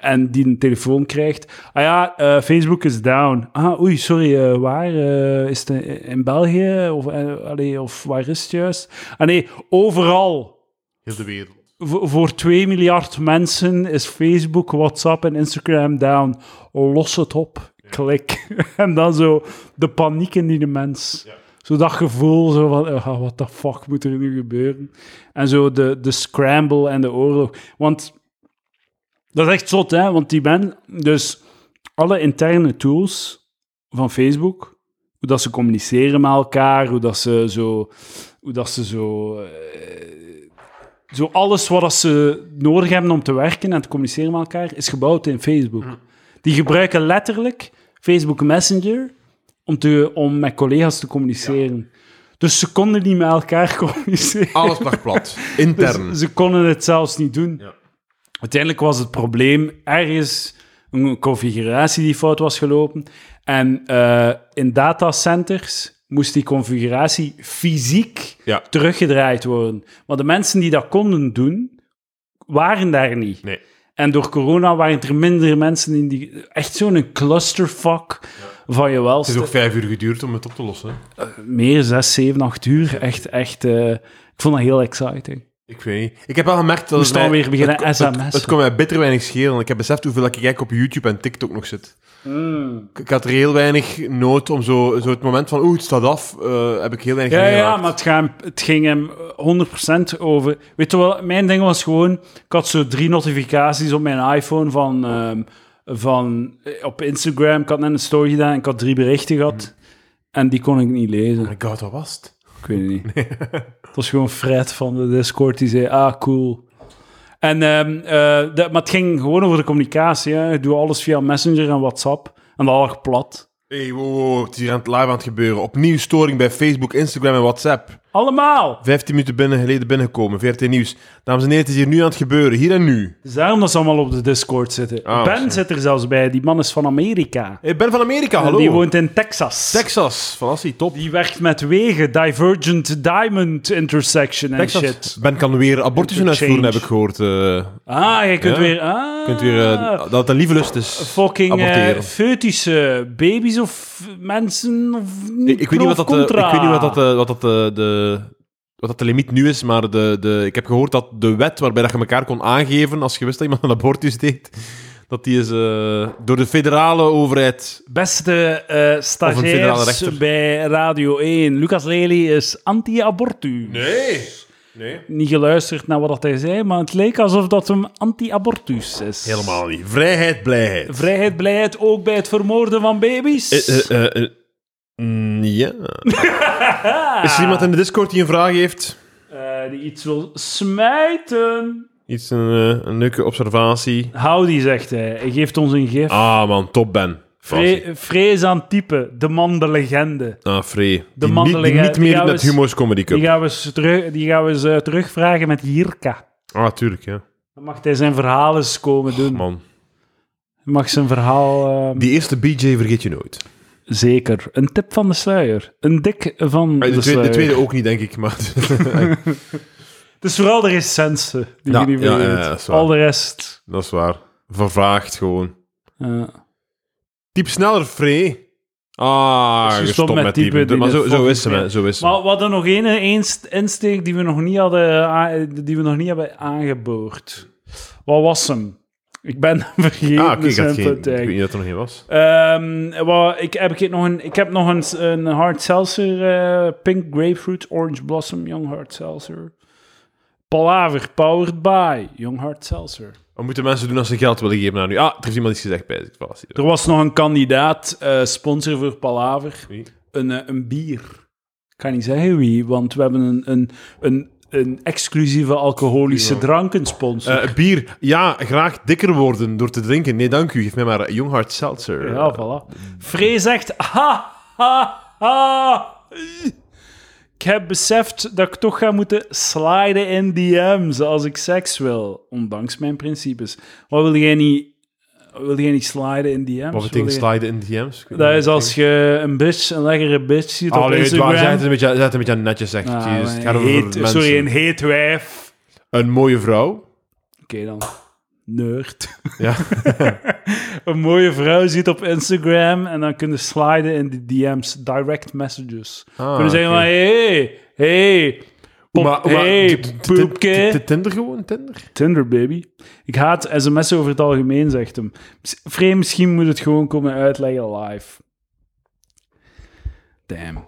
Speaker 1: En die een telefoon krijgt. Ah ja, eh, Facebook is down. Ah, oei, sorry, eh, waar? Eh, is het in- in België? Of, eh, allee, of waar is het juist? Ah nee, overal.
Speaker 2: Heel de wereld.
Speaker 1: Vo- voor 2 miljard mensen is Facebook, WhatsApp en Instagram down. Los het op. Klik. <laughs> en dan zo de paniek in die mens. Zo dat gevoel zo van, ah, what the fuck moet er nu gebeuren? En zo de, de scramble en de oorlog. Want dat is echt zot, hè? Want die ben dus alle interne tools van Facebook, hoe dat ze communiceren met elkaar, hoe dat ze zo, hoe dat ze zo, eh, zo alles wat dat ze nodig hebben om te werken en te communiceren met elkaar, is gebouwd in Facebook. Die gebruiken letterlijk Facebook Messenger om, te, om met collega's te communiceren. Dus ze konden niet met elkaar <laughs> communiceren.
Speaker 2: Alles lag plat.
Speaker 1: <laughs> Dus
Speaker 2: Intern.
Speaker 1: ze konden het zelfs niet doen.
Speaker 2: Ja.
Speaker 1: Uiteindelijk was het probleem ergens een configuratie die fout was gelopen. En eh, in datacenters moest die configuratie fysiek
Speaker 2: Ja.
Speaker 1: teruggedraaid worden. Want de mensen die dat konden doen, waren daar niet.
Speaker 2: Nee.
Speaker 1: En door corona waren er minder mensen in die... Echt zo'n clusterfuck van je welste
Speaker 2: Het is ook vijf uur geduurd om het op te lossen.
Speaker 1: meer 6, 7, 8 uur. Echt, echt. eh, ik vond dat heel exciting.
Speaker 2: Ik weet niet. Ik heb wel gemerkt dat
Speaker 1: We
Speaker 2: het
Speaker 1: staan
Speaker 2: mij-
Speaker 1: weer beginnen
Speaker 2: het, het,
Speaker 1: sms'en.
Speaker 2: het kon mij bitter weinig schelen. Ik heb beseft hoeveel ik eigenlijk op YouTube en TikTok nog zit. Ik, ik had er heel weinig nood om zo, zo het moment van oeh, het staat af, eh, heb ik heel weinig Oh
Speaker 1: Ja, ja,
Speaker 2: aangeraakt.
Speaker 1: maar het, ga hem- het ging hem 100% over. Weet je wel, mijn ding was gewoon. Ik had zo drie notificaties op mijn iPhone van. ehm, van eh, op Instagram. Ik had net een story gedaan en ik had drie berichten gehad. En die kon ik niet lezen.
Speaker 2: Oh my god, wat was het?
Speaker 1: Hmm. Ik weet het niet. <laughs> Het was gewoon Fred van de Discord die zei: Ah, cool. En, ehm, eh, dat- maar het ging gewoon over de communicatie. Hè. Ik doe alles via Messenger en WhatsApp. En dat lag plat.
Speaker 2: hey, wow, wow, het is hier aan het live aan het gebeuren. Opnieuw storing bij Facebook, Instagram en WhatsApp.
Speaker 1: Allemaal!
Speaker 2: 15 minuten binnen, geleden binnengekomen, VRT Nieuws. Dames en heren, het is hier nu aan het gebeuren, hier en nu.
Speaker 1: Dus daarom dat ze allemaal op de Discord zitten.
Speaker 2: Ah,
Speaker 1: ben
Speaker 2: sorry.
Speaker 1: zit er zelfs bij. Die man is van Amerika.
Speaker 2: Ik ben van Amerika, hallo.
Speaker 1: Die woont in Texas.
Speaker 2: Texas, van Assie, top.
Speaker 1: Die werkt met wegen. Divergent Diamond Intersection en
Speaker 2: Texas.
Speaker 1: shit.
Speaker 2: Ben kan weer abortussen
Speaker 1: Interchange.
Speaker 2: uitvoeren, heb ik gehoord. eh
Speaker 1: Ah, je kunt
Speaker 2: Ja.
Speaker 1: weer... Ah,
Speaker 2: kunt weer, eh, dat het een lieve lust is.
Speaker 1: fucking eh
Speaker 2: aborteren.
Speaker 1: foetische baby's of mensen of...
Speaker 2: Ik, ik weet niet wat dat, eh, ik
Speaker 1: contra.
Speaker 2: weet niet wat dat, eh, wat dat, eh, de, wat dat de limiet nu is, maar de, de, ik heb gehoord dat de wet waarbij dat je elkaar kon aangeven als je wist dat iemand een abortus deed, dat die is eh, door de federale overheid...
Speaker 1: Beste eh
Speaker 2: federale
Speaker 1: stagiairs
Speaker 2: rechter.
Speaker 1: bij Radio 1. Lucas Lely is anti-abortu.
Speaker 2: Nee! Nee.
Speaker 1: Niet geluisterd naar wat dat hij zei, maar het leek alsof dat hem anti-abortus is.
Speaker 2: Helemaal niet. Vrijheid, blijheid.
Speaker 1: Vrijheid, blijheid, ook bij het vermoorden van baby's.
Speaker 2: Eh, eh, eh, eh, mm,
Speaker 1: <laughs>
Speaker 2: ja. Is er iemand in de Discord die een vraag heeft?
Speaker 1: Eh, die iets wil smijten.
Speaker 2: Iets, een, eh, een leuke observatie?
Speaker 1: Hou die, zegt hij. Hij geeft ons een gif.
Speaker 2: Ah man, top Ben. Fassie.
Speaker 1: Vre vrees aan type, de man de legende.
Speaker 2: Ah, Free. Die,
Speaker 1: man
Speaker 2: niet,
Speaker 1: de
Speaker 2: die
Speaker 1: legende,
Speaker 2: niet
Speaker 1: die
Speaker 2: meer
Speaker 1: gaan we
Speaker 2: met
Speaker 1: eens-
Speaker 2: Humo's Comedy Cup.
Speaker 1: Die gaan we, eens terug, die gaan we eens, eh, terugvragen met Jirka.
Speaker 2: Ah, tuurlijk, ja.
Speaker 1: Dan mag hij zijn verhaal eens komen doen.
Speaker 2: Man.
Speaker 1: Hij mag zijn verhaal... eh,
Speaker 2: Die eerste BJ vergeet je nooit.
Speaker 1: Zeker. Een tip van de sluier. Een dik van de,
Speaker 2: Ah, De, tweede,
Speaker 1: sluier.
Speaker 2: de tweede ook niet, denk ik. Maar <laughs>
Speaker 1: Het is vooral de recentste die
Speaker 2: Ja,
Speaker 1: je niet meer
Speaker 2: ja, ja,
Speaker 1: weet.
Speaker 2: ja, dat is waar.
Speaker 1: Al de rest.
Speaker 2: dat is waar. Vervaagd gewoon.
Speaker 1: eh,
Speaker 2: Typ sneller, Free. Ah,
Speaker 1: Dus je
Speaker 2: gestopt
Speaker 1: stopt met
Speaker 2: met
Speaker 1: typen
Speaker 2: typen.
Speaker 1: die
Speaker 2: Maar
Speaker 1: de
Speaker 2: zo, zo
Speaker 1: fucking
Speaker 2: is hem, hè, Zo is hem.
Speaker 1: Maar we hadden nog één inst- insteek die we nog niet hadden, eh, a- die we nog niet hebben aangeboord. Wat was hem? Ik ben <laughs> vergeten.
Speaker 2: Ah, oké, ik had
Speaker 1: zijn
Speaker 2: geen... Ik
Speaker 1: punt
Speaker 2: weet
Speaker 1: eigenlijk.
Speaker 2: niet dat er nog geen was.
Speaker 1: Ehm, wat- ik, heb, ik, nog een, ik heb nog een, een hard seltzer. eh, pink grapefruit, orange blossom, young hard seltzer. Palaver, powered by, young hard seltzer.
Speaker 2: Wat moeten mensen doen als ze geld willen geven aan u? Ah, er is iemand iets gezegd bij. Ik was
Speaker 1: Er was nog een kandidaat, eh, sponsor voor Palaver.
Speaker 2: Wie?
Speaker 1: Een, eh, een bier. Ik kan niet zeggen wie, want we hebben een, een, een, een exclusieve alcoholische
Speaker 2: Ja.
Speaker 1: drankensponsor.
Speaker 2: Eh, bier. Ja, graag dikker worden door te drinken. Nee, dank u. Geef mij maar Young Hard Seltzer.
Speaker 1: ja, voilà. Free zegt, ha, ha, ha. Ik heb beseft dat ik toch ga moeten sliden in DM's als ik seks wil. Ondanks mijn principes. Wat wil jij niet... Wil jij niet sliden in DM's?
Speaker 2: Wat
Speaker 1: Wil
Speaker 2: betekent
Speaker 1: jij-
Speaker 2: sliden in DM's? Ik weet
Speaker 1: Dat
Speaker 2: niet.
Speaker 1: is als je een bitch, een lekkere bitch ziet op
Speaker 2: Allee, het
Speaker 1: Instagram.
Speaker 2: waar, zij het een beetje, zij het een beetje aan netjes zegt.
Speaker 1: Ah,
Speaker 2: Jezus,
Speaker 1: een
Speaker 2: het gaat over
Speaker 1: heet-
Speaker 2: mensen.
Speaker 1: sorry, een heet wijf.
Speaker 2: Een mooie vrouw.
Speaker 1: Oké dan. Nerd. <laughs>
Speaker 2: Ja.
Speaker 1: een mooie vrouw ziet op Instagram en dan kunnen sliden in de DM's, direct messages.
Speaker 2: Ah,
Speaker 1: kunnen zeggen
Speaker 2: oké.
Speaker 1: van, hey, hey, pop,
Speaker 2: Maar- maar-
Speaker 1: hey,
Speaker 2: t- t-
Speaker 1: poepke.
Speaker 2: t- t- Tinder gewoon, Tinder?
Speaker 1: Tinder, baby. Ik haat sms'en over het algemeen, zegt hem. Miss- Frame, misschien moet het gewoon komen uitleggen live. Damn.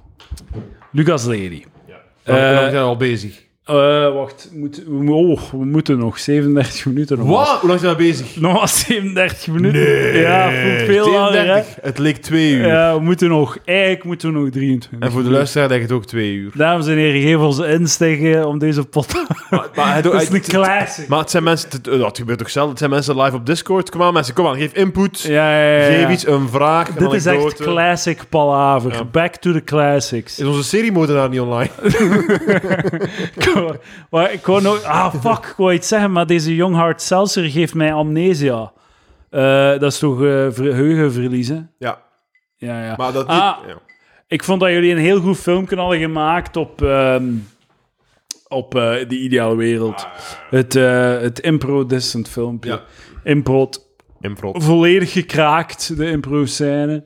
Speaker 1: Lucas Lady.
Speaker 2: Ja, we zijn al bezig.
Speaker 1: Eh, wacht, moet, we- oh, we moeten nog 37 minuten. Nog
Speaker 2: Wat? Hoe lang zijn we bezig?
Speaker 1: Nog maar 37 minuten. ja, voelt veel langer. hè?
Speaker 2: 37. Het leek twee uur.
Speaker 1: Ja, we moeten nog, eigenlijk moeten we nog 23.
Speaker 2: En voor de luisteraar lijkt het ook twee uur.
Speaker 1: Dames en heren, geef ons insteken om deze podcast.
Speaker 2: Maar, hij
Speaker 1: <laughs>
Speaker 2: doet-
Speaker 1: Dat is
Speaker 2: hij-
Speaker 1: een classic.
Speaker 2: maar het zijn mensen... het- eh, Dat gebeurt toch zelden? Het zijn mensen live op Discord. Kom aan, mensen. Kom aan, geef input.
Speaker 1: Ja, ja, ja, ja.
Speaker 2: Geef iets, een vraag, een
Speaker 1: Dit is echt
Speaker 2: anekdote.
Speaker 1: classic palaver.
Speaker 2: Ja.
Speaker 1: Back to the classics.
Speaker 2: Is onze seriemodenaar niet
Speaker 1: <laughs>
Speaker 2: online?
Speaker 1: Ik wou- maar ik wou nog... Ah, fuck, ik wou iets zeggen, maar deze Young Hard Seltzer geeft mij amnesia. Eh, dat is toch eh verheugenverlies, hè?
Speaker 2: Ja,
Speaker 1: Ja, ja.
Speaker 2: maar dat...
Speaker 1: Ah.
Speaker 2: ja.
Speaker 1: Ik vond dat jullie een heel goed filmpje hadden gemaakt op, ehm, op eh, De Ideale Wereld. Het, eh het impro-distant filmpje.
Speaker 2: Ja.
Speaker 1: Impro
Speaker 2: Improv.
Speaker 1: volledig gekraakt, de impro-scène.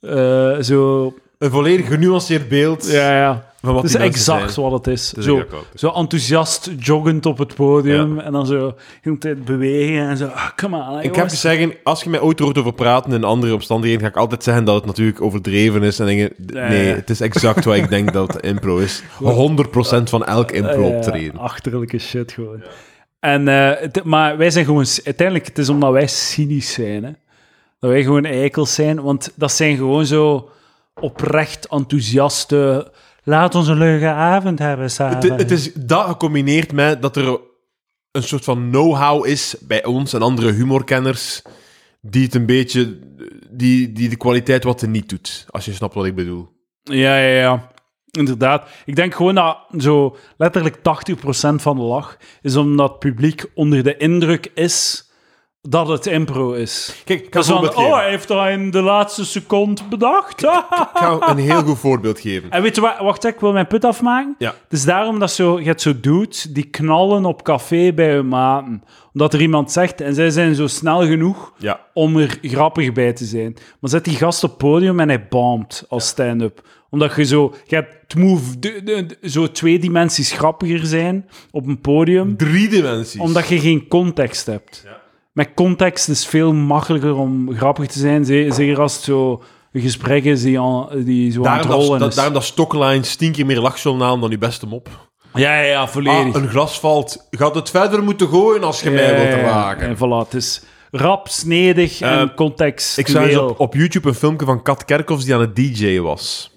Speaker 1: Eh, zo,
Speaker 2: Een volledig genuanceerd beeld
Speaker 1: ja, ja.
Speaker 2: van wat
Speaker 1: Het is
Speaker 2: die mensen zijn.
Speaker 1: exact wat het is.
Speaker 2: is
Speaker 1: zo,
Speaker 2: exact wat het is.
Speaker 1: zo enthousiast joggend op het podium en dan zo de hele tijd bewegen en zo. Ah, come on,
Speaker 2: Ik heb te zeggen, als je mij ooit hoort over praten in andere omstandigheden, ga ik altijd zeggen dat het natuurlijk overdreven is. En dingen.
Speaker 1: ja,
Speaker 2: nee,
Speaker 1: ja.
Speaker 2: het is exact wat ik denk dat het
Speaker 1: <laughs>
Speaker 2: impro is. 100% van elk impro optreden.
Speaker 1: Eh, Ah, achterlijke shit gewoon. En, eh, het- maar wij zijn gewoon... Uiteindelijk, het is omdat wij cynisch zijn, hè. Dat wij gewoon eikels zijn. Want dat zijn gewoon zo oprecht enthousiaste... Laat ons een leuke avond hebben samen.
Speaker 2: Het, het is dat gecombineerd met dat er een soort van know-how is bij ons en andere humorkenners, die het een beetje die, die de kwaliteit wat er niet doet. Als je snapt wat ik bedoel.
Speaker 1: Ja, ja, ja. Inderdaad. Ik denk gewoon dat zo letterlijk 80% van de lach is omdat het publiek onder de indruk is dat het impro is.
Speaker 2: Kijk, ik ga,
Speaker 1: Dus
Speaker 2: een,
Speaker 1: van,
Speaker 2: voorbeeld
Speaker 1: oh,
Speaker 2: geven.
Speaker 1: hij heeft dat in de laatste seconde
Speaker 2: <laughs>
Speaker 1: bedacht.
Speaker 2: ik
Speaker 1: <laughs>
Speaker 2: ga een heel goed voorbeeld geven.
Speaker 1: en weet je wat, wacht, ik wil mijn put afmaken.
Speaker 2: Ja.
Speaker 1: Het is daarom dat zo, je hebt zo dudes die knallen op café bij hun maten. Omdat er iemand zegt, en zij zijn zo snel genoeg
Speaker 2: Ja.
Speaker 1: om er grappig bij te zijn. Maar zet die gast op het podium en hij bombt als stand-up. Omdat je zo... Je hebt het move de- de- de- zo twee dimensies grappiger zijn op een podium,
Speaker 2: Drie dimensies.
Speaker 1: omdat je geen context hebt.
Speaker 2: Ja.
Speaker 1: Met context is het veel makkelijker om grappig te zijn, ze- zeker als het zo een gesprek is die, aan- die zo aan het
Speaker 2: Daarom
Speaker 1: rollen
Speaker 2: dat, dat,
Speaker 1: is.
Speaker 2: daarom dat Stockline tien keer meer lachzo'n aan dan je beste mop.
Speaker 1: Ja, ja, ja, volledig.
Speaker 2: Ah, een glas valt. Gaat het verder moeten gooien als je mij
Speaker 1: Ja, ja,
Speaker 2: wilt
Speaker 1: ja.
Speaker 2: raken?
Speaker 1: Eh, En voilà, het is rap, snedig en
Speaker 2: Eh,
Speaker 1: context.
Speaker 2: Ik zag eens op, op YouTube een filmpje van Kat Kerkhoffs die aan het DJ was.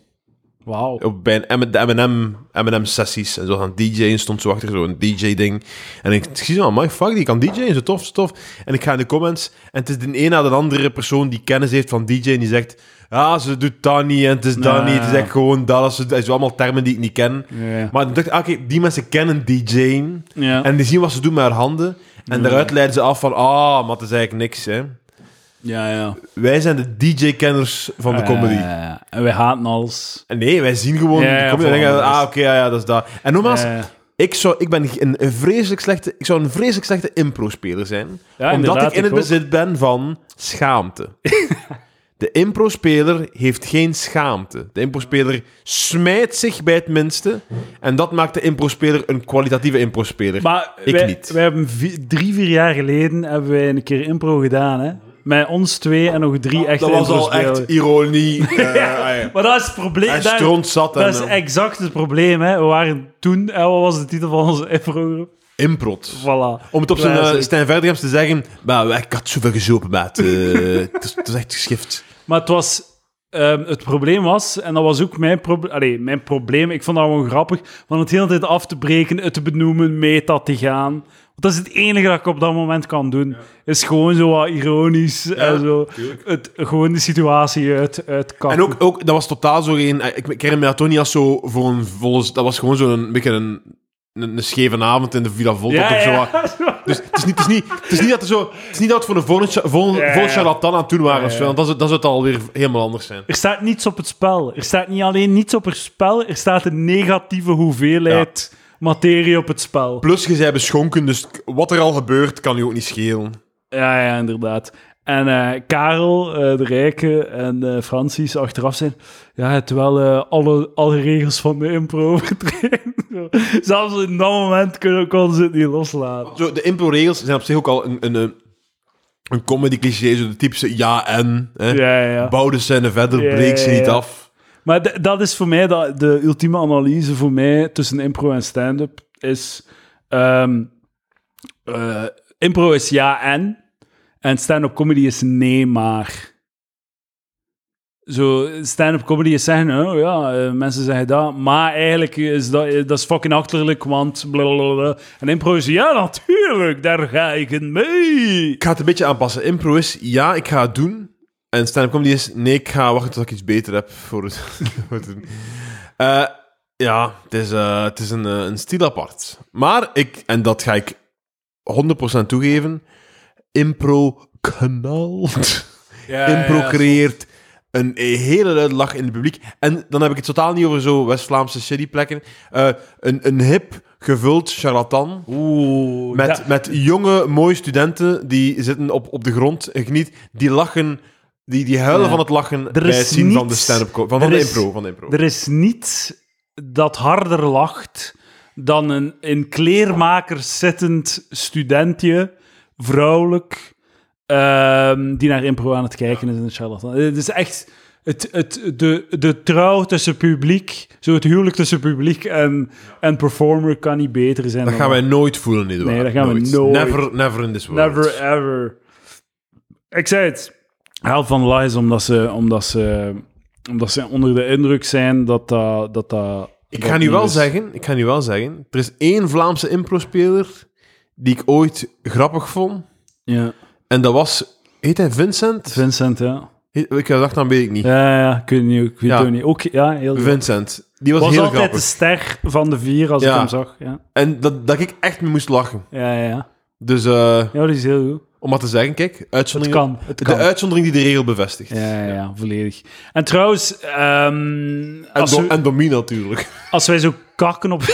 Speaker 1: Wauw.
Speaker 2: Op, bij een M- de M&M M&M sessies en zo gaan DJ'en. Stond zo achter zo'n DJ-ding. En ik zie zo, my fuck, die kan DJ'en. Zo tof, zo tof. En ik ga in de comments. En het is de een na de andere persoon die kennis heeft van DJ. En die zegt, ah, ze doet dat niet. En het is dat
Speaker 1: Ja.
Speaker 2: niet. Het is echt gewoon dat. Ze- Het is allemaal termen die ik niet ken.
Speaker 1: Ja.
Speaker 2: Maar dan dacht ik, ah, kijk, die mensen kennen DJ'en.
Speaker 1: Ja.
Speaker 2: En die zien wat ze doen met haar handen. En daaruit leiden ze af van, ah, maar het is eigenlijk niks, hè.
Speaker 1: ja, ja.
Speaker 2: Wij zijn de DJ-kenners van de
Speaker 1: Eh,
Speaker 2: comedy.
Speaker 1: en wij haten alles.
Speaker 2: Nee, wij zien gewoon
Speaker 1: Ja,
Speaker 2: de
Speaker 1: ja,
Speaker 2: comedy en denken,
Speaker 1: voilà,
Speaker 2: ah,
Speaker 1: dat
Speaker 2: oké,
Speaker 1: is-
Speaker 2: ja, ja, dat is dat. En nogmaals,
Speaker 1: Eh,
Speaker 2: ik, zou, ik, ben een, een vreselijk slechte, ik zou een vreselijk slechte impro-speler zijn.
Speaker 1: Ja,
Speaker 2: omdat ik
Speaker 1: inderdaad,
Speaker 2: in
Speaker 1: ik
Speaker 2: het
Speaker 1: ook.
Speaker 2: bezit ben van
Speaker 1: <laughs>
Speaker 2: schaamte. de impro-speler heeft geen schaamte. De impro-speler smijt zich bij het minste. En dat maakt de impro-speler een kwalitatieve impro-speler.
Speaker 1: maar
Speaker 2: ik
Speaker 1: wij,
Speaker 2: niet.
Speaker 1: wij hebben vi- drie, vier jaar geleden hebben wij een keer impro gedaan. Hè? Met ons twee en nog drie echte
Speaker 2: dat was al
Speaker 1: impro-spelers.
Speaker 2: echt
Speaker 1: <laughs>
Speaker 2: ironie. eh, ah, ja.
Speaker 1: Maar dat is het probleem.
Speaker 2: Hij
Speaker 1: daar-
Speaker 2: stront zat en eh,
Speaker 1: dat is exact het probleem. Hè? We waren toen... En wat was de titel van onze <laughs> impro-groep?
Speaker 2: eh, improt.
Speaker 1: Voilà.
Speaker 2: Om het op zijn eh,
Speaker 1: Classic.
Speaker 2: Stijn Verderhams te zeggen, maar ik had zoveel gezopen, maat. Eh, het, is, het is echt geschift.
Speaker 1: Maar het was... ehm, het probleem was, en dat was ook mijn probleem... Allee, mijn probleem, ik vond dat gewoon grappig, van het hele tijd af te breken, het te benoemen, meta te gaan. Want dat is het enige dat ik op dat moment kan doen. Is gewoon zo wat ironisch en zo. Het, gewoon de situatie uit, uitkappen.
Speaker 2: En ook, ook, dat was totaal zo geen... eh, Ik ik herinner me dat toch niet als zo voor een volle... Dat was gewoon zo'n een beetje een, een, een scheve avond in de Villa Volta.
Speaker 1: Ja,
Speaker 2: of zo.
Speaker 1: ja.
Speaker 2: wat. Dus het is, niet, het, is niet, het is niet dat er zo... Het is niet dat we voor een volle, cha- volle,
Speaker 1: Ja, ja.
Speaker 2: volle charlatan aan het doen waren. of
Speaker 1: ja.
Speaker 2: zo, want dan zou dan zou het alweer helemaal anders zijn.
Speaker 1: Er staat niets op het spel. Er staat niet alleen niets op het spel, er staat een negatieve hoeveelheid materie op het spel.
Speaker 2: Plus, je zei beschonken, dus wat er al gebeurt, kan je ook niet schelen.
Speaker 1: Ja, ja, inderdaad. En eh, Karel, eh, de Rijke en eh Francis achteraf zijn. Ja, het wel eh, alle, alle regels van de impro <laughs> overtreden. Zo. Zelfs in dat moment kunnen, konden ze het niet loslaten.
Speaker 2: Zo, de impro-regels zijn op zich ook al een, een, eh, een comedy-cliché. Zo de typische ja en. Hè?
Speaker 1: Ja, ja, ja.
Speaker 2: Bouw de scène verder,
Speaker 1: Ja,
Speaker 2: breek ze
Speaker 1: ja,
Speaker 2: niet
Speaker 1: ja.
Speaker 2: af.
Speaker 1: Maar d- dat is voor mij dat, de ultieme analyse voor mij tussen impro en stand-up is. ehm, eh, impro is ja en. En stand-up comedy is nee maar. Zo, stand-up comedy is zeggen, oh ja, eh, mensen zeggen dat. Maar eigenlijk is dat, eh, dat is fucking achterlijk, want blablabla. En impro is ja, natuurlijk, daar ga ik in mee.
Speaker 2: Ik ga het een beetje aanpassen. Impro is, ja, ik ga het doen. En stand-up comedy is, nee, ik ga wachten tot ik iets beter heb voor het, <laughs> voor het doen. Eh, ja, het is, eh, het is een, eh, een stil apart. Maar ik, en dat ga ik 100% toegeven, impro <laughs> knalt. impro creëert een hele luide lach in het publiek. En dan heb ik het totaal niet over zo West-Vlaamse shitty plekken. Eh, een, een hip, gevuld charlatan.
Speaker 1: Oeh,
Speaker 2: Met,
Speaker 1: dat-
Speaker 2: met jonge, mooie studenten die zitten op, op de grond en geniet. Die lachen, die, die huilen
Speaker 1: Ja.
Speaker 2: van het lachen
Speaker 1: Er
Speaker 2: bij het
Speaker 1: is
Speaker 2: zien van de
Speaker 1: niets-
Speaker 2: stand-up... co- Van, van,
Speaker 1: er
Speaker 2: de
Speaker 1: is-
Speaker 2: impro, van de impro.
Speaker 1: Er is niets dat harder lacht dan een in kleermakers zittend studentje, vrouwelijk, ehm, die naar impro aan het kijken is in de charlatan. Het is echt het, het, de, de trouw tussen publiek, zo het huwelijk tussen publiek en, en performer kan niet beter zijn.
Speaker 2: Dat
Speaker 1: dan
Speaker 2: gaan wij nooit voelen, nietwaar?
Speaker 1: Nee, dat gaan we nooit.
Speaker 2: Never, never in this world.
Speaker 1: Never ever. Ik zei het. Help van de lach is omdat ze, omdat, ze, omdat ze onder de indruk zijn dat dat... dat, dat
Speaker 2: Ik
Speaker 1: dat
Speaker 2: ga nu
Speaker 1: nieuw
Speaker 2: wel
Speaker 1: is.
Speaker 2: zeggen, ik ga nu wel zeggen, er is één Vlaamse impro-speler die ik ooit grappig vond.
Speaker 1: Ja.
Speaker 2: En dat was... Heet hij Vincent?
Speaker 1: Vincent, ja.
Speaker 2: Ik dacht, dan weet ik niet.
Speaker 1: Ja, ja, ik weet het niet. Ik weet
Speaker 2: Ja.
Speaker 1: het ook niet. Ook, ja, heel
Speaker 2: Vincent. Die was,
Speaker 1: was
Speaker 2: heel
Speaker 1: altijd
Speaker 2: grappig.
Speaker 1: de ster van de vier als ik
Speaker 2: Ja.
Speaker 1: hem zag. Ja,
Speaker 2: En dat, dat ik echt mee moest lachen.
Speaker 1: ja, ja. ja.
Speaker 2: Dus eh,
Speaker 1: ja die is heel goed.
Speaker 2: om maar te zeggen, kijk,
Speaker 1: Het
Speaker 2: uitzondering,
Speaker 1: kan. Het kan.
Speaker 2: de uitzondering die de regel bevestigt.
Speaker 1: ja, ja, ja, volledig. En trouwens, ehm,
Speaker 2: En,
Speaker 1: als,
Speaker 2: do,
Speaker 1: we-
Speaker 2: en Domien natuurlijk.
Speaker 1: als wij zo kakken op... <laughs>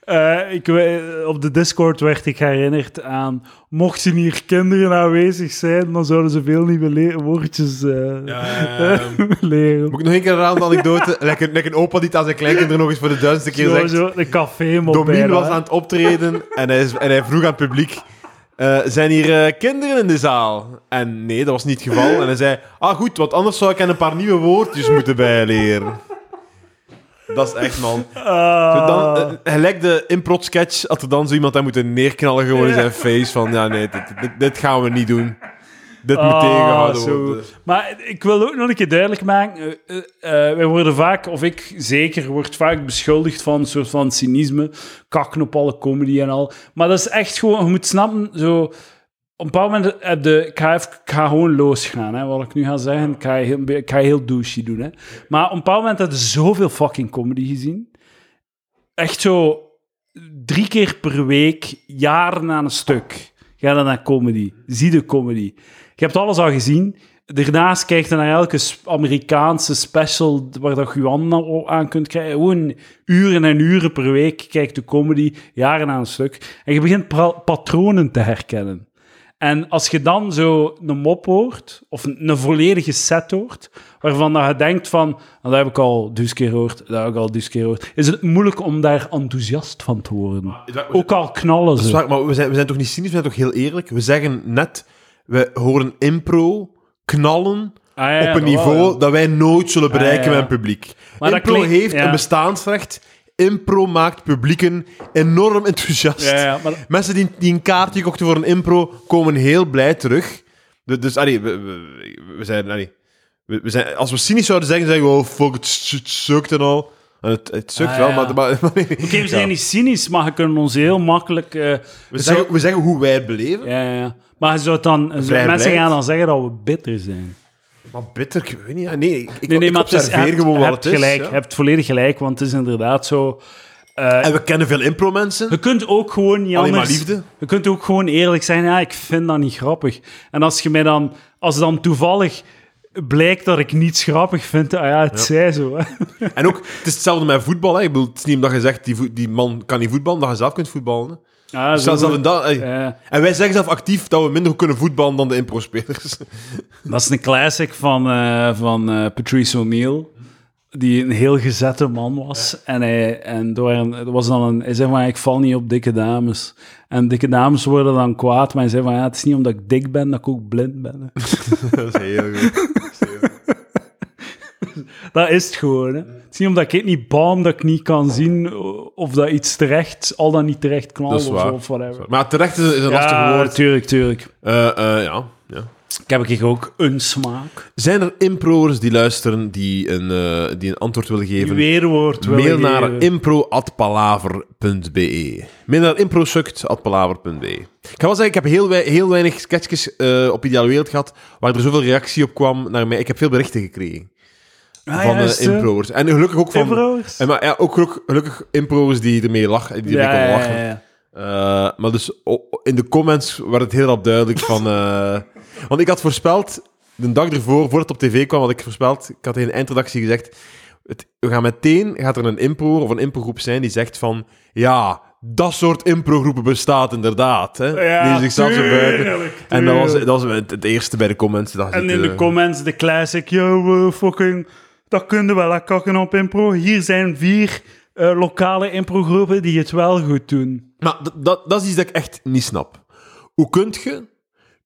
Speaker 1: Eh, ik, we- op de Discord werd ik herinnerd aan... Mochten hier kinderen aanwezig zijn, dan zouden ze veel nieuwe le- woordjes eh, <laughs>
Speaker 2: ehm,
Speaker 1: leren.
Speaker 2: <laughs> Moet ik nog een keer herhalen de anekdote? Lekker, lekker een opa die het aan zijn kleinkinderen nog eens voor de duizendste keer
Speaker 1: Zo,
Speaker 2: zegt.
Speaker 1: zo, de café mop
Speaker 2: Domien was aan het optreden en hij, is- en hij vroeg aan het publiek... eh, zijn hier eh, kinderen in de zaal? En nee, dat was niet het geval. En hij zei, ah goed, want anders zou ik hen een paar nieuwe woordjes moeten bijleren. Dat is echt, man.
Speaker 1: Ah,
Speaker 2: Zo Dan, eh, gelijk de improt-sketch had er dan zo iemand aan moeten neerknallen gewoon in zijn face van, ja nee, dit, dit, dit gaan we niet doen. Dit moet
Speaker 1: Ah,
Speaker 2: tegenhouden
Speaker 1: zo.
Speaker 2: worden.
Speaker 1: Maar ik wil ook nog een keer duidelijk maken. eh, eh, eh, wij worden vaak, of ik zeker, word vaak beschuldigd van een soort van cynisme. Kakken op alle comedy en al. Maar dat is echt gewoon, je moet snappen, zo... Op een bepaald moment heb je... Ik ga, even, ik ga gewoon losgaan, hè, wat ik nu ga zeggen. Ik ga heel, ik ga heel douchey doen, hè. Maar op een bepaald moment heb je zoveel fucking comedy gezien. Echt zo drie keer per week, jaren aan een stuk. Ga dan naar comedy. Zie de comedy. Je hebt alles al gezien. Daarnaast kijk je naar elke sp- Amerikaanse special waar dat je je handen o- aan kunt krijgen. Gewoon uren en uren per week kijkt de comedy, jaren aan een stuk. En je begint pra- patronen te herkennen. En als je dan zo een mop hoort, of een een volledige set hoort, waarvan dat je denkt van, "Nou, dat heb ik al dus keer gehoord, dat heb ik al dus keer gehoord, is het moeilijk om daar enthousiast van te worden.
Speaker 2: Ah,
Speaker 1: Ook al knallen
Speaker 2: Dat is
Speaker 1: ze.
Speaker 2: waar, maar we zijn, we zijn toch niet cynisch, we zijn toch heel eerlijk? We zeggen net, we horen impro knallen
Speaker 1: Ah, ja,
Speaker 2: op
Speaker 1: dat
Speaker 2: een niveau
Speaker 1: wel, ja.
Speaker 2: dat wij nooit zullen bereiken
Speaker 1: Ah, ja.
Speaker 2: met een publiek.
Speaker 1: Maar dat
Speaker 2: impro
Speaker 1: klinkt-
Speaker 2: heeft
Speaker 1: ja.
Speaker 2: een bestaansrecht. Impro maakt publieken enorm enthousiast.
Speaker 1: Ja, ja, maar-
Speaker 2: Mensen die, die een kaartje kochten voor een impro komen heel blij terug. Du- Dus allee, we, we, we zijn, allee, we, we zijn, als we cynisch zouden zeggen, zeggen we: oh fuck, het, su- het sukt en al. En het, het sukt
Speaker 1: Ah,
Speaker 2: wel,
Speaker 1: ja.
Speaker 2: maar. maar, maar-
Speaker 1: Oké, we zijn
Speaker 2: <laughs> Ja.
Speaker 1: niet cynisch, maar je kunt ons heel makkelijk... eh,
Speaker 2: we,
Speaker 1: zo-
Speaker 2: zeggen, we zeggen hoe wij het beleven.
Speaker 1: Ja, ja, ja. Maar je zou dan, je zou-
Speaker 2: Vrij
Speaker 1: mensen
Speaker 2: beleid.
Speaker 1: gaan dan zeggen dat we bitter zijn.
Speaker 2: Maar bitter, ik weet niet. ja, Nee, ik, ik,
Speaker 1: Nee, nee,
Speaker 2: ik
Speaker 1: maar het is-
Speaker 2: observeer
Speaker 1: je hebt- je
Speaker 2: gewoon wat
Speaker 1: hebt
Speaker 2: het is.
Speaker 1: gelijk,
Speaker 2: ja.
Speaker 1: Je hebt volledig gelijk, want het is inderdaad zo...
Speaker 2: En we kennen veel impro-mensen.
Speaker 1: Je kunt ook gewoon niet
Speaker 2: Alleen maar
Speaker 1: anders...
Speaker 2: liefde.
Speaker 1: Je kunt ook gewoon eerlijk zijn, ja, ik vind dat niet grappig. En als je mij dan... Als dan toevallig blijkt dat ik niets grappig vind, ah ja, het zij
Speaker 2: <laughs>
Speaker 1: zo. Hè.
Speaker 2: En ook, het is hetzelfde met voetbal. Hè. Ik bedoel, het is niet omdat je zegt, die, vo- die man kan niet voetballen, dat je zelf kunt voetballen. hè.
Speaker 1: Ja, zo
Speaker 2: Zelfs dat we
Speaker 1: goed.
Speaker 2: dat- hey.
Speaker 1: Ja.
Speaker 2: En wij zeggen zelf actief dat we minder kunnen voetballen dan de impro-spelers. <laughs>
Speaker 1: Dat is een classic van, eh, van eh, Patrice O'Neill. Die een heel gezette man was. En, hij, en door een, er was dan een, hij zei van, ik val niet op dikke dames. En dikke dames worden dan kwaad. Maar hij zei van, ja, het is niet omdat ik dik ben, dat ik ook blind ben. hè.
Speaker 2: dat is heel goed.
Speaker 1: dat is het gewoon. Hè. Het is niet omdat ik het niet baam, dat ik niet kan zien of dat iets terecht, al dan niet terecht knalt
Speaker 2: Dat is
Speaker 1: of,
Speaker 2: waar.
Speaker 1: zo, of whatever.
Speaker 2: Maar terecht is, is een lastig
Speaker 1: Ja,
Speaker 2: woord.
Speaker 1: tuurlijk, tuurlijk.
Speaker 2: Eh, eh, ja. ja.
Speaker 1: Ik heb hier ook een smaak.
Speaker 2: Zijn er impro'ers die luisteren, die een, eh, die een antwoord willen
Speaker 1: Die
Speaker 2: geven?
Speaker 1: weerwoord willen
Speaker 2: Mail naar
Speaker 1: geven.
Speaker 2: impro.palaver.be. Mail naar improsuct.palaver.be. Ik ga wel zeggen, ik heb heel, wei- heel weinig sketchjes eh, op Ideale Wereld gehad waar er zoveel reactie op kwam naar mij. Ik heb veel berichten gekregen
Speaker 1: Ah,
Speaker 2: van
Speaker 1: ja,
Speaker 2: eh,
Speaker 1: is het, hè?
Speaker 2: impro'ers. En gelukkig ook van...
Speaker 1: Impro'ers?
Speaker 2: En maar, ja, ook geluk- gelukkig impro'ers die ermee lachen, die ermee
Speaker 1: Ja,
Speaker 2: konden
Speaker 1: ja,
Speaker 2: lachen.
Speaker 1: ja, ja.
Speaker 2: Eh, maar dus o- in de comments werd het heel rap duidelijk
Speaker 1: <laughs>
Speaker 2: van... eh, want ik had voorspeld, de dag ervoor, voordat het op tv kwam, had ik voorspeld... Ik had in de eindredactie gezegd... Het, we gaan meteen, gaat er een impro of een improgroep zijn die zegt van... Ja, dat soort improgroepen bestaat inderdaad. Hè?
Speaker 1: Ja,
Speaker 2: die zichzelf zo
Speaker 1: tuurlijk,
Speaker 2: buigen. En dat was,
Speaker 1: tuurlijk.
Speaker 2: dat was het, het eerste bij de comments. Dat eh,
Speaker 1: En in de comments de classic, yo, eh, fucking, dat kunnen wel, hè, kakken op impro. Hier zijn vier eh, lokale improgroepen die het wel goed doen.
Speaker 2: Maar d- dat, dat is iets dat ik echt niet snap. Hoe kunt je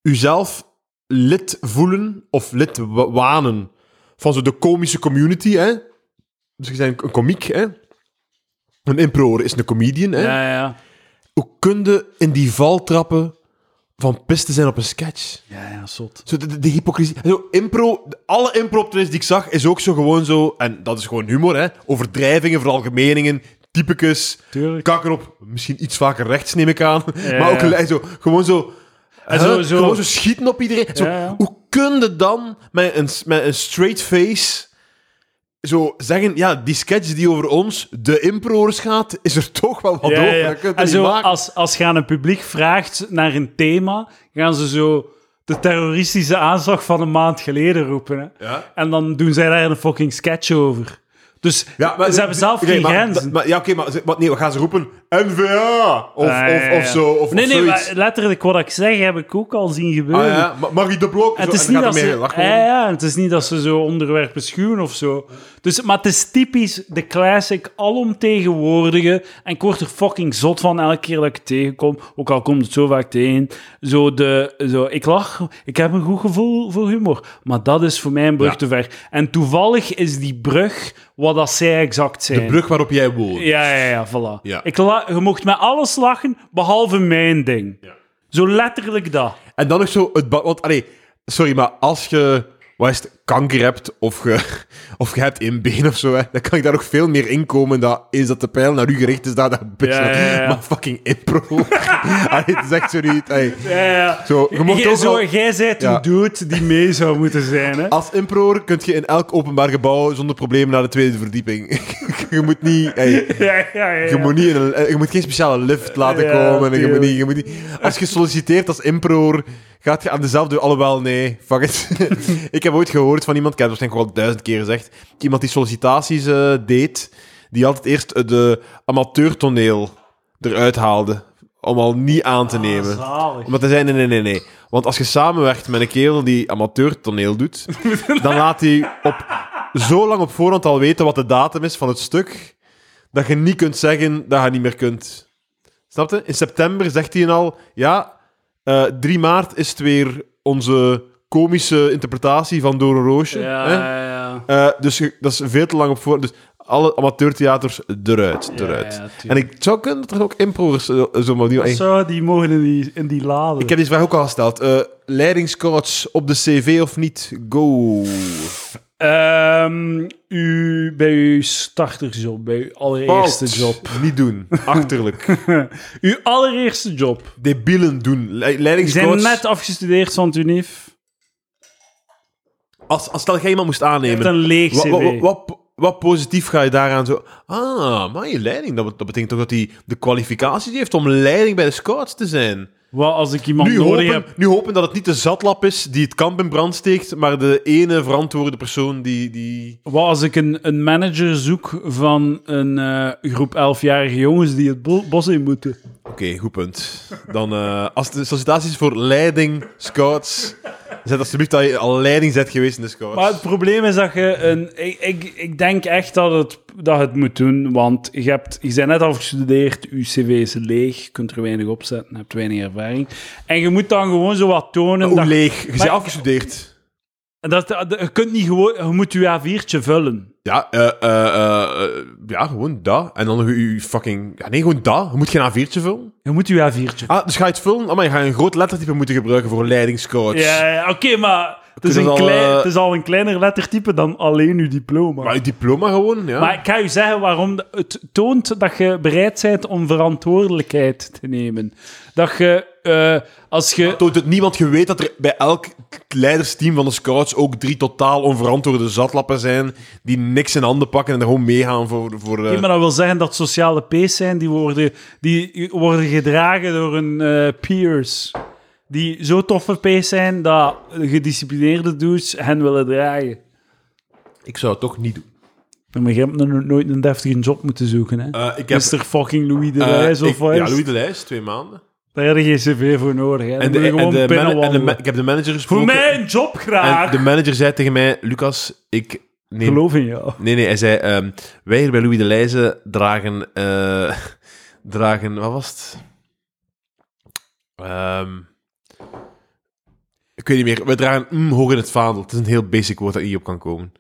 Speaker 2: jezelf lid voelen of lid wa- wanen van zo de komische community, hè? Dus je bent een komiek, hè? Een improer is een comedian, hè?
Speaker 1: Ja, ja,
Speaker 2: Hoe kun je in die val trappen van pis te zijn op een sketch?
Speaker 1: ja, ja, zot.
Speaker 2: Zo de, de- de hypocrisie. En Zo, impro, alle impro-optredens die ik zag, is ook zo gewoon zo... En dat is gewoon humor, hè. Overdrijvingen, veralgemeningen, typicus.
Speaker 1: Tuurlijk.
Speaker 2: Kakker op, misschien iets vaker rechts, neem ik aan.
Speaker 1: Ja,
Speaker 2: maar ook
Speaker 1: ja.
Speaker 2: li- zo, gewoon zo...
Speaker 1: En
Speaker 2: Huh?
Speaker 1: zo, zo,
Speaker 2: Gewoon zo schieten op iedereen. Zo,
Speaker 1: Ja, ja.
Speaker 2: Hoe kun je dan met een, met een straight face zo zeggen... Ja, die sketch die over ons, de impro's gaat, is er toch wel wat
Speaker 1: Ja,
Speaker 2: over.
Speaker 1: ja.
Speaker 2: Dat kun je
Speaker 1: En
Speaker 2: niet
Speaker 1: zo,
Speaker 2: maken.
Speaker 1: als, als je aan een publiek vraagt naar een thema, gaan ze zo de terroristische aanslag van een maand geleden roepen. Hè?
Speaker 2: Ja.
Speaker 1: En dan doen zij daar een fucking sketch over. Dus
Speaker 2: Ja, maar-
Speaker 1: ze hebben zelf
Speaker 2: Oké,
Speaker 1: geen
Speaker 2: maar-
Speaker 1: grenzen.
Speaker 2: Maar, ja, oké, maar, ze- maar nee, we gaan ze roepen NVA of,
Speaker 1: Ah, Ja, ja, ja.
Speaker 2: of, of zo. Of,
Speaker 1: nee,
Speaker 2: of
Speaker 1: nee,
Speaker 2: zoiets.
Speaker 1: maar letterlijk wat ik zeg heb ik ook al zien
Speaker 2: Ah,
Speaker 1: gebeuren.
Speaker 2: ja, maar Marie de Blok.
Speaker 1: En
Speaker 2: zo,
Speaker 1: het, is
Speaker 2: en
Speaker 1: niet
Speaker 2: dan
Speaker 1: dat ze,
Speaker 2: gaat er
Speaker 1: Eh,
Speaker 2: mee gelachen
Speaker 1: ja,
Speaker 2: worden.
Speaker 1: ja, het is niet dat ze zo onderwerpen schuwen of zo. Dus, maar het is typisch de classic alomtegenwoordige. En ik word er fucking zot van elke keer dat ik het tegenkom. Ook al komt het zo vaak tegen. Zo de, zo, ik lach, ik heb een goed gevoel voor humor. Maar dat is voor mij een brug
Speaker 2: Ja.
Speaker 1: te ver. En toevallig is die brug wat dat zij exact zijn.
Speaker 2: De brug waarop jij woont.
Speaker 1: eh. Ja, ja, ja, voilà.
Speaker 2: Ja.
Speaker 1: Ik la- je mocht met alles lachen, behalve mijn ding. Zo letterlijk dat.
Speaker 2: En dan nog zo het... ba- Want, allee, sorry, maar als je... Wat is het, kanker hebt of je, <laughs> of je hebt één been of zo, hè, dan kan ik daar nog veel meer in komen. Dat is dat de pijl naar u gericht is, dat dat bitch.
Speaker 1: Ja, ja, ja.
Speaker 2: <laughs> Maar fucking impro. <laughs> allee, het is echt zo niet. allee.
Speaker 1: Ja, ja.
Speaker 2: Zo, je mocht
Speaker 1: Jij-
Speaker 2: ook
Speaker 1: zo,
Speaker 2: wel-
Speaker 1: Jij zijt
Speaker 2: Ja.
Speaker 1: een dude die mee zou moeten zijn,
Speaker 2: <laughs>
Speaker 1: hè?
Speaker 2: Als improer kun je in elk openbaar gebouw zonder probleem naar de tweede verdieping. <laughs> je moet niet... allee,
Speaker 1: Ja, ja, ja.
Speaker 2: Je moet, niet in een- eh, je moet geen speciale lift laten
Speaker 1: Ja,
Speaker 2: komen. en Je
Speaker 1: tuurlijk.
Speaker 2: moet niet, je moet niet, als je solliciteert als improer, gaat je aan dezelfde... Alhoewel, nee, fuck it. <laughs> ik heb ooit gehoord van iemand, ik heb het waarschijnlijk al duizend keer gezegd, iemand die sollicitaties eh, deed, die altijd eerst eh, de amateurtoneel eruit haalde. Om al niet aan te nemen.
Speaker 1: Ah, Zalig.
Speaker 2: Omdat hij zei, nee, nee, nee, nee. Want als je samenwerkt met een kerel die
Speaker 1: <laughs>
Speaker 2: amateurtoneel doet, dan laat hij op, zo lang op voorhand al weten wat de datum is van het stuk, dat je niet kunt zeggen dat je niet meer kunt. Snap je? In september zegt hij al, ja, eh, 3 maart is het weer onze komische interpretatie van Door een Roosje.
Speaker 1: Ja,
Speaker 2: hè?
Speaker 1: ja, ja.
Speaker 2: Eh, dus je- dat is veel te lang op voorhand. Dus alle amateurtheaters eruit, eruit.
Speaker 1: ja,
Speaker 2: en
Speaker 1: tuurlijk.
Speaker 2: ik het zou kunnen dat er ook improvers eh, zo maar die...
Speaker 1: Wat Zou die mogen in die, in die lade?
Speaker 2: Ik heb die vraag ook al gesteld. Eh, leidingscoach op de CV of niet? Go.
Speaker 1: Ehm, u, bij uw startersjob, bij uw allereerste
Speaker 2: Fout.
Speaker 1: job.
Speaker 2: Niet doen. <laughs> Achterlijk.
Speaker 1: Uw allereerste job.
Speaker 2: Debielen doen. Le-
Speaker 1: Ik zijn
Speaker 2: Leidingscoach.
Speaker 1: net afgestudeerd van het UNIF.
Speaker 2: Als, als stel jij iemand moest
Speaker 1: Je hebt
Speaker 2: aannemen.
Speaker 1: een leeg
Speaker 2: Wat,
Speaker 1: cv.
Speaker 2: wat, wat, wat positief ga je daaraan zo... Ah, maar je leiding. Dat, bet- dat betekent toch dat hij de kwalificaties heeft om leiding bij de scouts te zijn.
Speaker 1: Wat als ik iemand
Speaker 2: Nu
Speaker 1: nodig
Speaker 2: hopen,
Speaker 1: heb...
Speaker 2: nu hopen dat het niet de zatlap is die het kamp in brand steekt, maar de ene verantwoorde persoon die... die...
Speaker 1: Wat als ik een, een manager zoek van een eh, groep 11-jarige jongens die het bo- bos in moeten?
Speaker 2: Oké, goed punt. Dan, eh, als de sollicitaties is voor leiding, scouts... Zet alsjeblieft dat je al leiding bent geweest in de scouts.
Speaker 1: Maar het probleem is dat je een. Ik, ik, ik denk echt dat het, dat het moet doen. Want je, hebt, je bent net afgestudeerd, je cv is leeg, je kunt er weinig op zetten, je hebt weinig ervaring. En je moet dan gewoon zo wat tonen.
Speaker 2: Hoe
Speaker 1: dat,
Speaker 2: leeg. Je bent
Speaker 1: Maar-
Speaker 2: afgestudeerd.
Speaker 1: dat, dat- je, kunt niet gewoon, je moet je A4'tje vullen.
Speaker 2: Ja, eh, eh, eh, eh, ja, gewoon dat. En dan je, je fucking... Ja, nee, gewoon dat. Je moet geen A4'tje vullen.
Speaker 1: Je moet je A4'tje
Speaker 2: Ah, dus ga je het vullen? Amai, ga je een groot lettertype moeten gebruiken voor leidingscoach.
Speaker 1: Ja, ja, oké, maar het is,
Speaker 2: Het is
Speaker 1: een
Speaker 2: al,
Speaker 1: klein,
Speaker 2: eh,
Speaker 1: het is al een kleiner lettertype dan alleen je diploma.
Speaker 2: Maar je diploma gewoon, ja.
Speaker 1: Maar ik ga u zeggen waarom. de- Het toont dat je bereid bent om verantwoordelijkheid te nemen. Dat je, eh, als je
Speaker 2: Toont het niemand geweet dat er bij elk leidersteam van de scouts ook drie totaal onverantwoorde zatlappen zijn die niks in handen pakken en er gewoon meegaan voor... voor eh,
Speaker 1: Oké, maar dat wil zeggen dat sociale P's zijn die worden, die worden gedragen door hun eh, peers. Die zo toffe P's zijn dat gedisciplineerde dudes hen willen dragen.
Speaker 2: Ik zou het toch niet doen.
Speaker 1: Maar je hebt nog nooit een deftige job moeten zoeken, hè?
Speaker 2: Eh, ik heb...
Speaker 1: Is er fucking Louis de
Speaker 2: eh,
Speaker 1: Wijs
Speaker 2: ik-
Speaker 1: of wat?
Speaker 2: Ja,
Speaker 1: is-
Speaker 2: Louis de Lijs, twee maanden.
Speaker 1: Daar heb je geen cv voor nodig, hè? Dan
Speaker 2: En
Speaker 1: moet
Speaker 2: de,
Speaker 1: je
Speaker 2: en
Speaker 1: gewoon
Speaker 2: de, man- en de,
Speaker 1: binnenwandelen.
Speaker 2: ma- ik heb de manager gesproken.
Speaker 1: voor mij een job
Speaker 2: En
Speaker 1: graag!
Speaker 2: de manager zei tegen mij, Lucas, ik
Speaker 1: Ik
Speaker 2: neem
Speaker 1: geloof in jou.
Speaker 2: Nee, nee, hij zei... ehm, wij hier bij Louis de Leijzen dragen... eh, <laughs> dragen... Wat was het? Ehm, ik weet niet meer. We dragen mm hoog in het vaandel. Het is een heel basic woord dat hier op kan komen.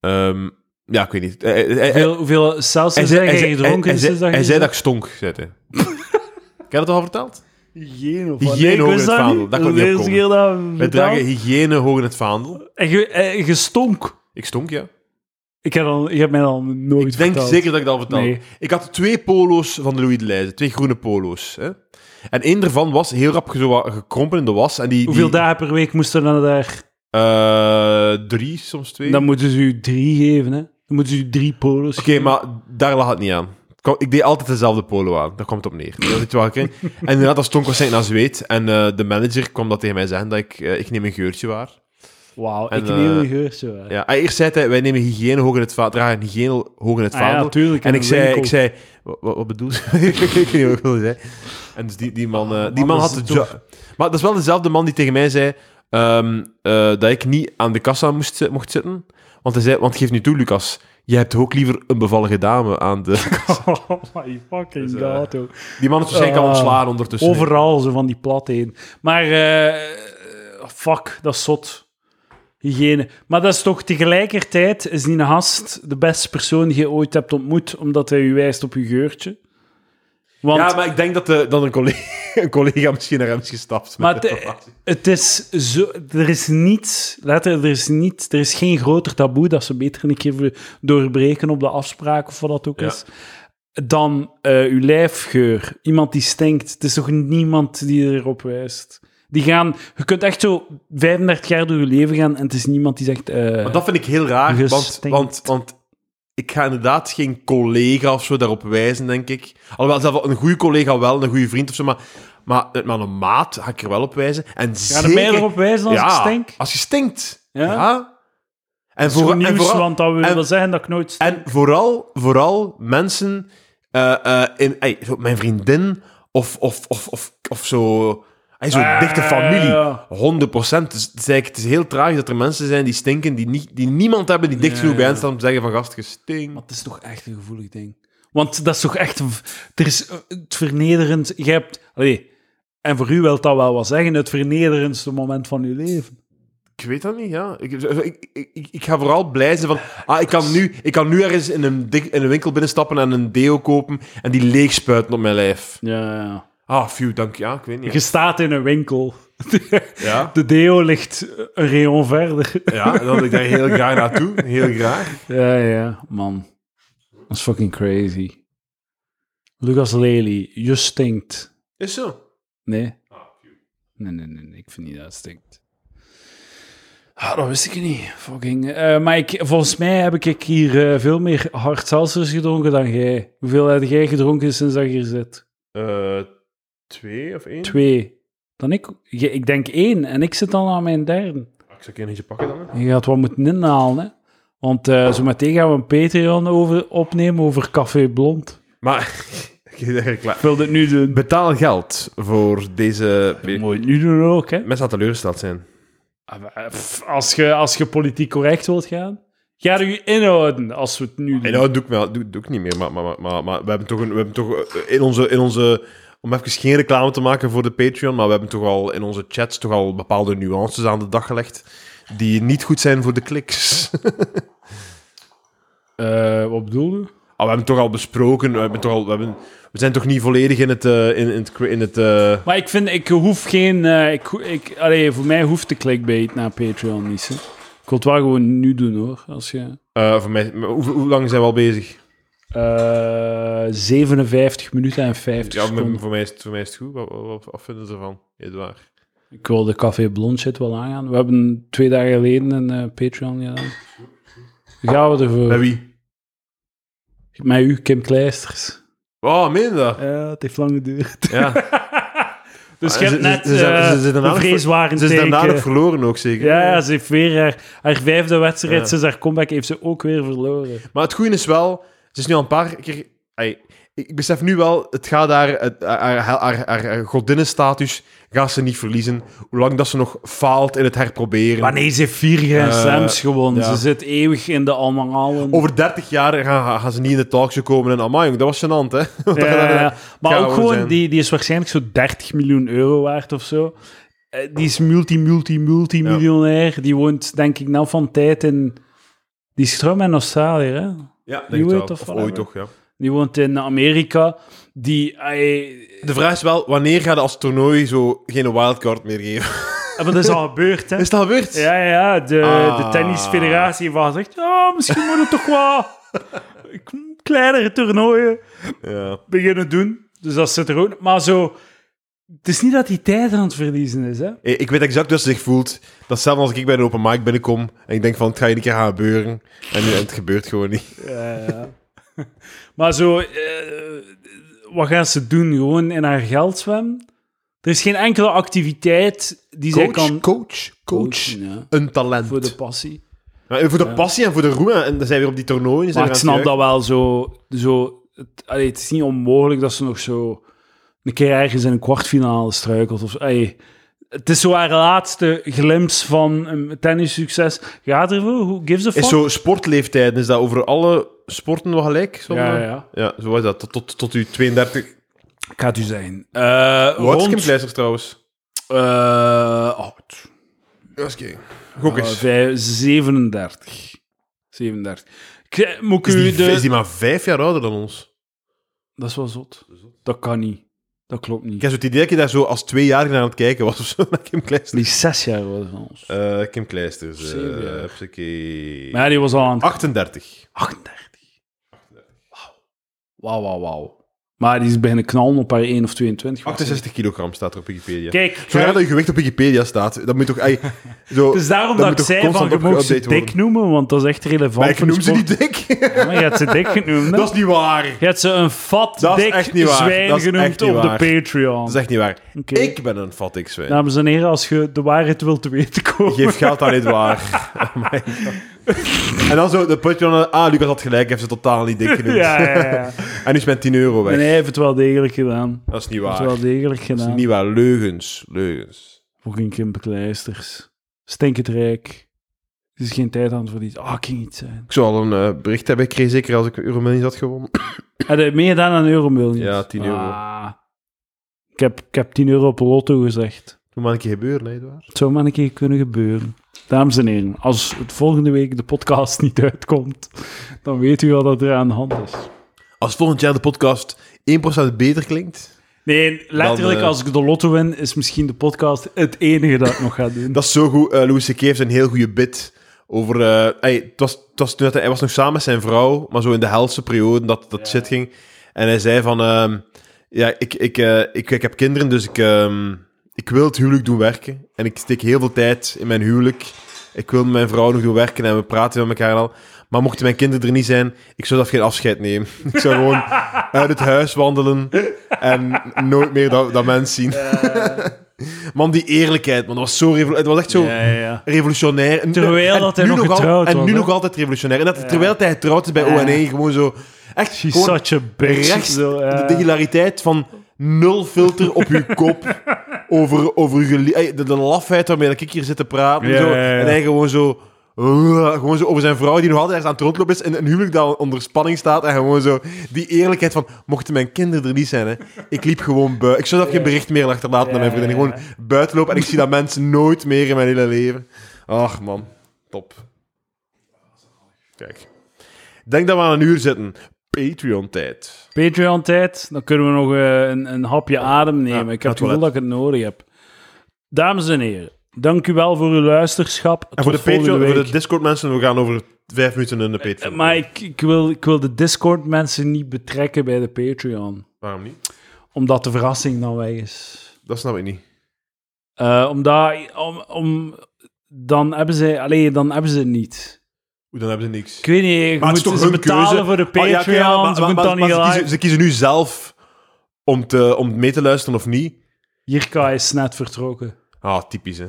Speaker 2: Ehm, ja, ik weet niet. Eh, Hij- hij- hij- hij-
Speaker 1: Hoeveel, hoeveel Celsius
Speaker 2: zei-
Speaker 1: heb
Speaker 2: hij
Speaker 1: je
Speaker 2: zei-
Speaker 1: gedronken
Speaker 2: hij- hij
Speaker 1: sinds dat
Speaker 2: zei- Hij
Speaker 1: je-
Speaker 2: zei dat ik stonk, zei hij. Heb je dat al verteld?
Speaker 1: Hygiëne of
Speaker 2: Hygiëne
Speaker 1: Nee, ik
Speaker 2: hoog in
Speaker 1: wist
Speaker 2: het
Speaker 1: dat
Speaker 2: vaandel.
Speaker 1: niet.
Speaker 2: Dat
Speaker 1: is
Speaker 2: kon
Speaker 1: de
Speaker 2: niet
Speaker 1: eerste
Speaker 2: opkomen.
Speaker 1: keer dat
Speaker 2: Wij
Speaker 1: verteld.
Speaker 2: dragen hygiëne hoog in het vaandel.
Speaker 1: En je, eh, je stonk.
Speaker 2: Ik stonk, ja.
Speaker 1: Ik heb, al, ik heb mij al nooit
Speaker 2: Ik denk
Speaker 1: verteld.
Speaker 2: zeker dat ik dat al vertel.
Speaker 1: Nee.
Speaker 2: Ik had twee polo's van de Louis de Leijzen, twee groene polo's. Hè? En één daarvan was heel rap zo wat gekrompen in de was. En die,
Speaker 1: Hoeveel
Speaker 2: die,
Speaker 1: dagen per week moesten dan daar?
Speaker 2: Eh, drie, soms twee.
Speaker 1: Dan moeten ze u drie geven, hè? Dan moeten ze u drie polos
Speaker 2: Oké, maar daar lag het niet aan. Het kwam- Ik deed altijd dezelfde polo aan. Daar kwam het op neer. Dat is het waar ik in. En inderdaad, dat stonk waarschijnlijk naar zweet. En eh, de manager kwam dat tegen mij zeggen, dat ik, eh, ik neem een geurtje waar.
Speaker 1: Wauw,
Speaker 2: En,
Speaker 1: ik neem
Speaker 2: eh,
Speaker 1: een geur zo. hè.
Speaker 2: Ja. En eerst zei hij, wij nemen hygiëne hoog in het vaandel, dragen hygiëne hoog in het
Speaker 1: Ah ja,
Speaker 2: vaandel.
Speaker 1: natuurlijk.
Speaker 2: en
Speaker 1: in
Speaker 2: ik
Speaker 1: een
Speaker 2: zei,
Speaker 1: winkel.
Speaker 2: ik zei, wat, wat, wat bedoel je? <laughs> ik weet niet wat ik wilde zeggen. En dus die, die man, eh, die
Speaker 1: Man,
Speaker 2: man
Speaker 1: Ah, dat
Speaker 2: had
Speaker 1: is
Speaker 2: het...
Speaker 1: tof.
Speaker 2: jo- Maar dat is wel dezelfde man die tegen mij zei ehm, eh, dat ik niet aan de kassa moest, zi- mocht zitten. Want hij zei, want geef nu toe, Lucas, je hebt toch ook liever een bevallige dame aan de...
Speaker 1: <laughs>
Speaker 2: <laughs>
Speaker 1: Oh my fucking
Speaker 2: Dus, eh, dus
Speaker 1: god, hoor.
Speaker 2: Die man is waarschijnlijk al
Speaker 1: Ah.
Speaker 2: ontslagen ondertussen.
Speaker 1: Overal zo van die plat heen. Maar eh, fuck, dat is zot. Hygiëne. Maar dat is toch tegelijkertijd, is Nina Hast de beste persoon die je ooit hebt ontmoet, omdat hij u wijst op uw geurtje? Want
Speaker 2: Ja, maar ik denk dat, de, dat een, collega, <laughs> een collega misschien naar hem is gestapt.
Speaker 1: Maar
Speaker 2: <laughs> met
Speaker 1: het-
Speaker 2: de informatie.
Speaker 1: het is zo... Er is niets... Later, er is niets... Er is geen groter taboe dat ze beter een keer doorbreken op de afspraak of wat dat ook
Speaker 2: Ja.
Speaker 1: is, dan eh, uw lijfgeur. Iemand die stinkt. Het is toch niemand die erop wijst. Die gaan... Je kunt echt zo 35 jaar door je leven gaan en het is niemand die zegt... eh,
Speaker 2: Maar dat vind ik heel raar, want,
Speaker 1: Gestinkt.
Speaker 2: want, want ik ga inderdaad geen collega of zo daarop wijzen, denk ik. Alhoewel, zelf wel een goede collega wel, een goede vriend of zo, maar, maar, eh, maar een maat ga ik er wel op wijzen. En
Speaker 1: Gaan
Speaker 2: zeker...
Speaker 1: er mij erop wijzen als
Speaker 2: Ja,
Speaker 1: ik stink?
Speaker 2: als je stinkt. Ja.
Speaker 1: Ja.
Speaker 2: En,
Speaker 1: Voor,
Speaker 2: voor, en
Speaker 1: nieuws,
Speaker 2: vooral,
Speaker 1: want dat wil
Speaker 2: en-
Speaker 1: wel zeggen dat ik nooit stink.
Speaker 2: en vooral, vooral mensen... eh, eh, in, ey, zo mijn vriendin of, of, of, of, of zo... ey, Zo'n
Speaker 1: Ah,
Speaker 2: dichte familie.
Speaker 1: ja.
Speaker 2: 100 procent. Dus het, is eigenlijk- het is heel tragisch dat er mensen zijn die stinken, die, niet, die niemand hebben die dicht
Speaker 1: Ja,
Speaker 2: genoeg bij
Speaker 1: ja.
Speaker 2: hen staan om te zeggen van gast, je stinkt.
Speaker 1: Maar het is toch echt een gevoelig ding. Want dat is toch echt... Er is eh, het vernederend... Je hebt... Allee, en voor u wil dat wel wat zeggen, het vernederendste moment van uw leven.
Speaker 2: Ik weet dat niet, ja. Ik, ik, ik, ik- ik ga vooral blij zijn van, ah, ik kan nu, ik kan nu ergens in een, dik- in een winkel binnenstappen en een deo kopen en die leeg spuiten op mijn lijf.
Speaker 1: Ja, ja.
Speaker 2: Ah, phew, dank je. Ja, ik weet
Speaker 1: Je
Speaker 2: niet.
Speaker 1: staat in een winkel. <laughs>
Speaker 2: Ja,
Speaker 1: De deo ligt een rayon verder.
Speaker 2: ja en dan wil ik daar heel graag naartoe. Heel graag.
Speaker 1: Ja, ja. Man. Dat is fucking crazy. Lucas Lely, je stinkt.
Speaker 2: Is zo.
Speaker 1: Nee? Nee, nee, nee. nee, Ik vind niet dat het stinkt. Ah, dat wist ik niet. Fucking. eh, maar ik, volgens mij heb ik hier eh, veel meer hard seltzers gedronken dan jij. Hoeveel heb jij gedronken sinds dat je hier zit?
Speaker 2: Eh, twee of één?
Speaker 1: Twee. Dan ik. Je- ik denk één. En ik zit al aan mijn derde.
Speaker 2: Ah, ik zal een eentje pakken dan. hè.
Speaker 1: Je gaat wat moeten inhalen, hè. Want eh zo meteen gaan we een Patreon over, opnemen over Café Blond.
Speaker 2: Maar, <laughs> ik ben eigenlijk klaar.
Speaker 1: Ik wil dit nu doen.
Speaker 2: Betaal geld voor deze...
Speaker 1: Dat moet je het nu doen ook, hè.
Speaker 2: Mensen gaan teleurgesteld zijn.
Speaker 1: Ah, maar, eh, pff, Als je, als je politiek correct wilt gaan, ga je inhouden als we het nu doen.
Speaker 2: En nou, doe ik, wel- doe, doe ik niet meer, maar, maar, maar, maar, maar we hebben toch, een, we hebben toch eh, in, onze, in onze... Om even geen reclame te maken voor de Patreon, maar we hebben toch al in onze chats toch al bepaalde nuances aan de dag gelegd die niet goed zijn voor de kliks. <laughs>
Speaker 1: Eh, wat bedoel je?
Speaker 2: Ah, we hebben toch al besproken, we, hebben toch al, we, hebben, we zijn toch niet volledig in het... eh, in, in het, in het eh,
Speaker 1: Maar ik vind, ik hoef geen... eh, ik, ho- ik, allee, voor mij hoeft de clickbait naar Patreon niet, hè. Ik wil het wel gewoon nu doen, hoor. Als je,
Speaker 2: eh, voor mij, maar hoe, hoe lang zijn we al bezig?
Speaker 1: eh 57 minuten en 50
Speaker 2: Ja,
Speaker 1: seconden.
Speaker 2: voor mij, is het, voor mij is het goed. Wat, wat, wat- wat vinden ze ervan, Edouard?
Speaker 1: Ik wil de Café Blond shit wel aangaan. We hebben twee dagen geleden een eh, Patreon gedaan. Gaan we ervoor.
Speaker 2: Met wie?
Speaker 1: Met u, Kim Kleisters.
Speaker 2: Oh, meen je dat?
Speaker 1: Ja, Eh, het heeft lang geduurd.
Speaker 2: <laughs> Ja.
Speaker 1: Dus
Speaker 2: Ah,
Speaker 1: je
Speaker 2: ze-
Speaker 1: hebt
Speaker 2: ze-
Speaker 1: net
Speaker 2: ze zijn-
Speaker 1: eh,
Speaker 2: ze zijn
Speaker 1: een
Speaker 2: dadelijk-
Speaker 1: vreeswaar
Speaker 2: Ze is daarna nog
Speaker 1: teken.
Speaker 2: verloren ook, zeker?
Speaker 1: Ja, ja, ze heeft weer haar, haar vijfde wedstrijd
Speaker 2: Ja.
Speaker 1: sinds haar comeback heeft ze ook weer verloren.
Speaker 2: Maar het goede is wel, ze is nu al een paar keer... Ai, ik, ik besef nu wel, het gaat haar, het, haar, haar, haar, haar- haar godinnenstatus gaat ze niet verliezen. Hoe lang dat ze nog faalt in het herproberen.
Speaker 1: Maar nee, ze heeft vier Grand
Speaker 2: Eh,
Speaker 1: Slams gewonnen.
Speaker 2: ja.
Speaker 1: Ze zit eeuwig in de allemaal.
Speaker 2: Over 30 jaar gaan, gaan- gaan ze niet in de talkshow komen. En amai, jong, dat was gênant, hè? <laughs> Want
Speaker 1: Ja,
Speaker 2: dat-
Speaker 1: ja, ja. Maar
Speaker 2: gewoon
Speaker 1: ook gewoon,
Speaker 2: zijn.
Speaker 1: die, die is waarschijnlijk zo 30 miljoen euro waard of zo. Eh, Die is multi, multi, multimiljonair. Die woont, denk ik, nou van tijd in... Die is trouwens in Australië, hè?
Speaker 2: Ja, denk
Speaker 1: You
Speaker 2: het wel.
Speaker 1: it of
Speaker 2: Of
Speaker 1: whatever.
Speaker 2: ooit toch, ja.
Speaker 1: Die woont in Amerika. Die... eh,
Speaker 2: De vraag is wel, wanneer gaat als toernooi zo geen wildcard meer geven? <laughs>
Speaker 1: eh, maar dat is al gebeurd, hè?
Speaker 2: Is dat gebeurd?
Speaker 1: Ja, ja, ja. De,
Speaker 2: Ah.
Speaker 1: de tennisfederatie heeft al gezegd... "Ah, misschien moeten we toch <laughs> wat kleinere toernooien
Speaker 2: Ja.
Speaker 1: beginnen doen. Dus dat zit er ook... Maar zo... Het is niet dat hij tijd aan het verliezen is, hè?
Speaker 2: Eh, Ik ik weet exact hoe ze zich voelt. Dat zelfs als ik bij een open mic binnenkom en ik denk van, het gaat hier een keer gaan gebeuren. En eh, het gebeurt gewoon niet.
Speaker 1: Ja, ja. <laughs> maar zo, eh, wat gaan ze doen? Gewoon in haar geld zwemmen? Er is geen enkele activiteit die zij kan...
Speaker 2: coach,
Speaker 1: ja,
Speaker 2: Een talent.
Speaker 1: voor de passie.
Speaker 2: Maar eh, voor de passie en voor de roem. En dan zijn we weer op die toernooien. zijn
Speaker 1: Maar
Speaker 2: we
Speaker 1: ik
Speaker 2: aan het
Speaker 1: snap dat wel zo. zo het, allee, het is niet onmogelijk dat ze nog zo een keer ergens in een kwartfinale struikelt. Of, allee, het is zo haar laatste glimp van een tennissucces. Gaat ervoor? Who gives a fuck?
Speaker 2: Is zo sportleeftijd, is dat over alle sporten wel gelijk? Zo
Speaker 1: ja, ja.
Speaker 2: ja, zo was dat. Tot, tot, tot u 32.
Speaker 1: eh? Ik ga het u zijn. Eh
Speaker 2: Hoe oud is Kim
Speaker 1: rond,
Speaker 2: Kleister trouwens?
Speaker 1: eh, oud.
Speaker 2: Dat is Gok
Speaker 1: Eh,
Speaker 2: eens.
Speaker 1: vijf- 37. 37. Ik- eh, moet ik
Speaker 2: is,
Speaker 1: u
Speaker 2: die,
Speaker 1: de...
Speaker 2: is die maar vijf jaar ouder dan ons?
Speaker 1: Dat is wel zot. Dat kan niet. Dat klopt
Speaker 2: Ik
Speaker 1: niet.
Speaker 2: heb zo het idee dat je daar zo als tweejarige naar aan het kijken was of zo, <laughs> naar Kim Kleister.
Speaker 1: Die is zes jaar ouder dan ons.
Speaker 2: Eh, Kim Kleister. eh,
Speaker 1: Zeven jaar.
Speaker 2: hupsakee.
Speaker 1: Maar ja, die was al aan het
Speaker 2: 38.
Speaker 1: 38. Wauw. Wauw, wauw, wauw. Maar die is beginnen knallen op haar 1 of 22.
Speaker 2: 68 kilogram staat er op Wikipedia.
Speaker 1: Kijk,
Speaker 2: Zodra
Speaker 1: Gerrit,
Speaker 2: dat je gewicht op Wikipedia staat, dat moet
Speaker 1: <laughs>
Speaker 2: toch... ey, zo,
Speaker 1: het is daarom
Speaker 2: dat
Speaker 1: dat,
Speaker 2: moet
Speaker 1: ik
Speaker 2: toch
Speaker 1: zei van, je
Speaker 2: constant
Speaker 1: mag ze
Speaker 2: geüpdate worden?
Speaker 1: dik noemen, want dat is echt relevant.
Speaker 2: maar ik
Speaker 1: voor de
Speaker 2: noem ze
Speaker 1: sport.
Speaker 2: niet dik.
Speaker 1: Ja, maar je hebt ze dik genoemd. hè?
Speaker 2: dat is niet waar.
Speaker 1: Je hebt ze een vat,
Speaker 2: Dat is
Speaker 1: dik
Speaker 2: echt niet waar.
Speaker 1: zwijn
Speaker 2: Dat is
Speaker 1: genoemd
Speaker 2: echt niet
Speaker 1: op de
Speaker 2: waar.
Speaker 1: Patreon.
Speaker 2: Dat is echt niet waar.
Speaker 1: Oké. Nou.
Speaker 2: Ik ben een fattig zwijn.
Speaker 1: Dames en heren, als je de waarheid wilt te weten komen...
Speaker 2: Geef geld aan
Speaker 1: <laughs>
Speaker 2: Edouard. Oh my God. en dan zo de Patreon. Ah, Lucas had gelijk, heeft ze totaal niet dik genoemd.
Speaker 1: <laughs> Ja, ja, ja.
Speaker 2: En nu is mijn 10 euro weg.
Speaker 1: En hij heeft het wel degelijk gedaan.
Speaker 2: Dat is
Speaker 1: Hij
Speaker 2: niet waar.
Speaker 1: heeft het wel degelijk
Speaker 2: Dat is
Speaker 1: gedaan.
Speaker 2: niet waar. Leugens. Leugens.
Speaker 1: Fucking kimpekleisters. Stinkend rijk. Er is geen tijd aan het verliezen. Ah, kan niet zijn.
Speaker 2: Ik zou al een eh, bericht hebben gekregen, zeker als ik Euromillions had gewonnen.
Speaker 1: Had je meegedaan aan Euromillions?
Speaker 2: Ja, 10 euro.
Speaker 1: Ah. Ik, heb, ik heb 10 euro op lotto gezegd.
Speaker 2: Toen maar een keer gebeuren, hè, Edouard.
Speaker 1: Het zou maar een keer kunnen gebeuren. Dames en heren, als het volgende week de podcast <laughs> niet uitkomt, dan weet u al dat er aan de hand is.
Speaker 2: Als volgend jaar de podcast 1% beter klinkt,
Speaker 1: Nee, letterlijk,
Speaker 2: Dan, eh,
Speaker 1: als ik de lotto win, is misschien de podcast het enige dat ik nog ga doen.
Speaker 2: <laughs> dat is zo goed. Eh Louis C.K. heeft een heel goede bit over... eh, hey, het was, het was toen dat hij, hij was nog samen met zijn vrouw, maar zo in de helse periode dat dat shit ging. En hij zei van... ehm, ja, ik, ik, eh, ik, ik heb kinderen, dus ik, ehm, ik wil het huwelijk doen werken. En ik steek heel veel tijd in mijn huwelijk. Ik wil mijn vrouw nog doen werken en we praten met elkaar en al. Maar mochten mijn kinderen er niet zijn, ik zou zelf geen afscheid nemen. <laughs> Ik zou gewoon uit het huis wandelen en nooit meer dat, dat mens zien. <laughs> Man, die eerlijkheid, man. Dat was zo revolu- Het was echt zo
Speaker 1: Ja, ja, ja.
Speaker 2: revolutionair. En-
Speaker 1: Terwijl
Speaker 2: en
Speaker 1: dat hij
Speaker 2: nu
Speaker 1: nog
Speaker 2: al-
Speaker 1: getrouwd
Speaker 2: En
Speaker 1: was,
Speaker 2: nu
Speaker 1: hè?
Speaker 2: nog altijd revolutionair. En dat, Terwijl hij getrouwd is bij
Speaker 1: Ja.
Speaker 2: ONE, gewoon zo... Echt
Speaker 1: She's
Speaker 2: gewoon
Speaker 1: such a bitch.
Speaker 2: rechts
Speaker 1: Zo, ja.
Speaker 2: de, de hilariteit van nul filter op
Speaker 1: <laughs>
Speaker 2: uw kop. Over, over uw gelie- ey, de, de lafheid waarmee dat ik hier zit te praten.
Speaker 1: Ja,
Speaker 2: zo.
Speaker 1: ja, ja.
Speaker 2: En hij gewoon zo... uh, gewoon zo over zijn vrouw die nog altijd ergens aan het rondlopen is. En een huwelijk dat onder spanning staat. En gewoon zo die eerlijkheid van... Mochten mijn kinderen er niet zijn, hè, ik liep gewoon buiten. Ik zou zelf geen bericht meer achterlaten aan mijn
Speaker 1: Ja,
Speaker 2: vriendin.
Speaker 1: ja,
Speaker 2: Gewoon buiten lopen. En ik zie dat mensen nooit meer in mijn hele leven. Ach, man. Top. Kijk. Ik denk dat we aan een uur zitten. Patreon-tijd.
Speaker 1: Patreon-tijd, dan kunnen we nog eh, een, een hapje adem nemen. ik heb
Speaker 2: naar
Speaker 1: het
Speaker 2: het
Speaker 1: gevoel dat ik het nodig heb. Dames en heren, dank u wel voor uw luisterschap.
Speaker 2: En voor de, Patreon, voor de Discord mensen, we gaan over vijf minuten in de Patreon.
Speaker 1: Eh, Maar ik, ik, wil, ik wil de Discord-mensen niet betrekken bij de Patreon.
Speaker 2: Waarom niet?
Speaker 1: Omdat de verrassing dan weg is.
Speaker 2: Dat snap ik niet.
Speaker 1: Eh, omdat, om, om, dan hebben ze... Allee, dan hebben ze het niet.
Speaker 2: Hoe dan hebben ze niks.
Speaker 1: Ik weet niet, je moet
Speaker 2: Maar het is toch
Speaker 1: ze
Speaker 2: hun
Speaker 1: betalen
Speaker 2: keuze.
Speaker 1: voor de
Speaker 2: Maar
Speaker 1: Patreon,
Speaker 2: ja, oké, ja, maar-
Speaker 1: ze
Speaker 2: maar-
Speaker 1: moeten dan
Speaker 2: maar-
Speaker 1: niet
Speaker 2: maar
Speaker 1: live.
Speaker 2: ze, kiezen, ze kiezen nu zelf om, te, om mee te luisteren of niet.
Speaker 1: Jirka is net vertrokken.
Speaker 2: Ah, typisch hè.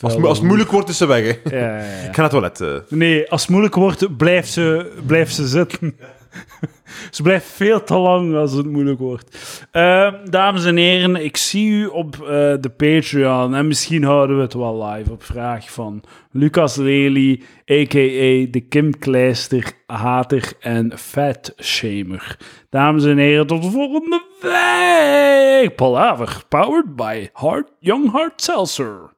Speaker 2: Als, het mo- als het moeilijk wordt, is ze weg hè.
Speaker 1: Ja, ja,
Speaker 2: <laughs>
Speaker 1: ja.
Speaker 2: Ik ga naar het toilet. eh.
Speaker 1: Nee, als het moeilijk wordt, blijft ze, blijft ze zitten. <laughs> ze blijft veel te lang als het moeilijk wordt. Eh, dames en heren, ik zie u op eh, de Patreon. En misschien houden we het wel live op vraag van Lucas Lely, a.k.a. de Kim Kleister, hater en fatshamer. Dames en heren, tot de volgende week. Palaver, powered by Hard, Young Hard Seltzer.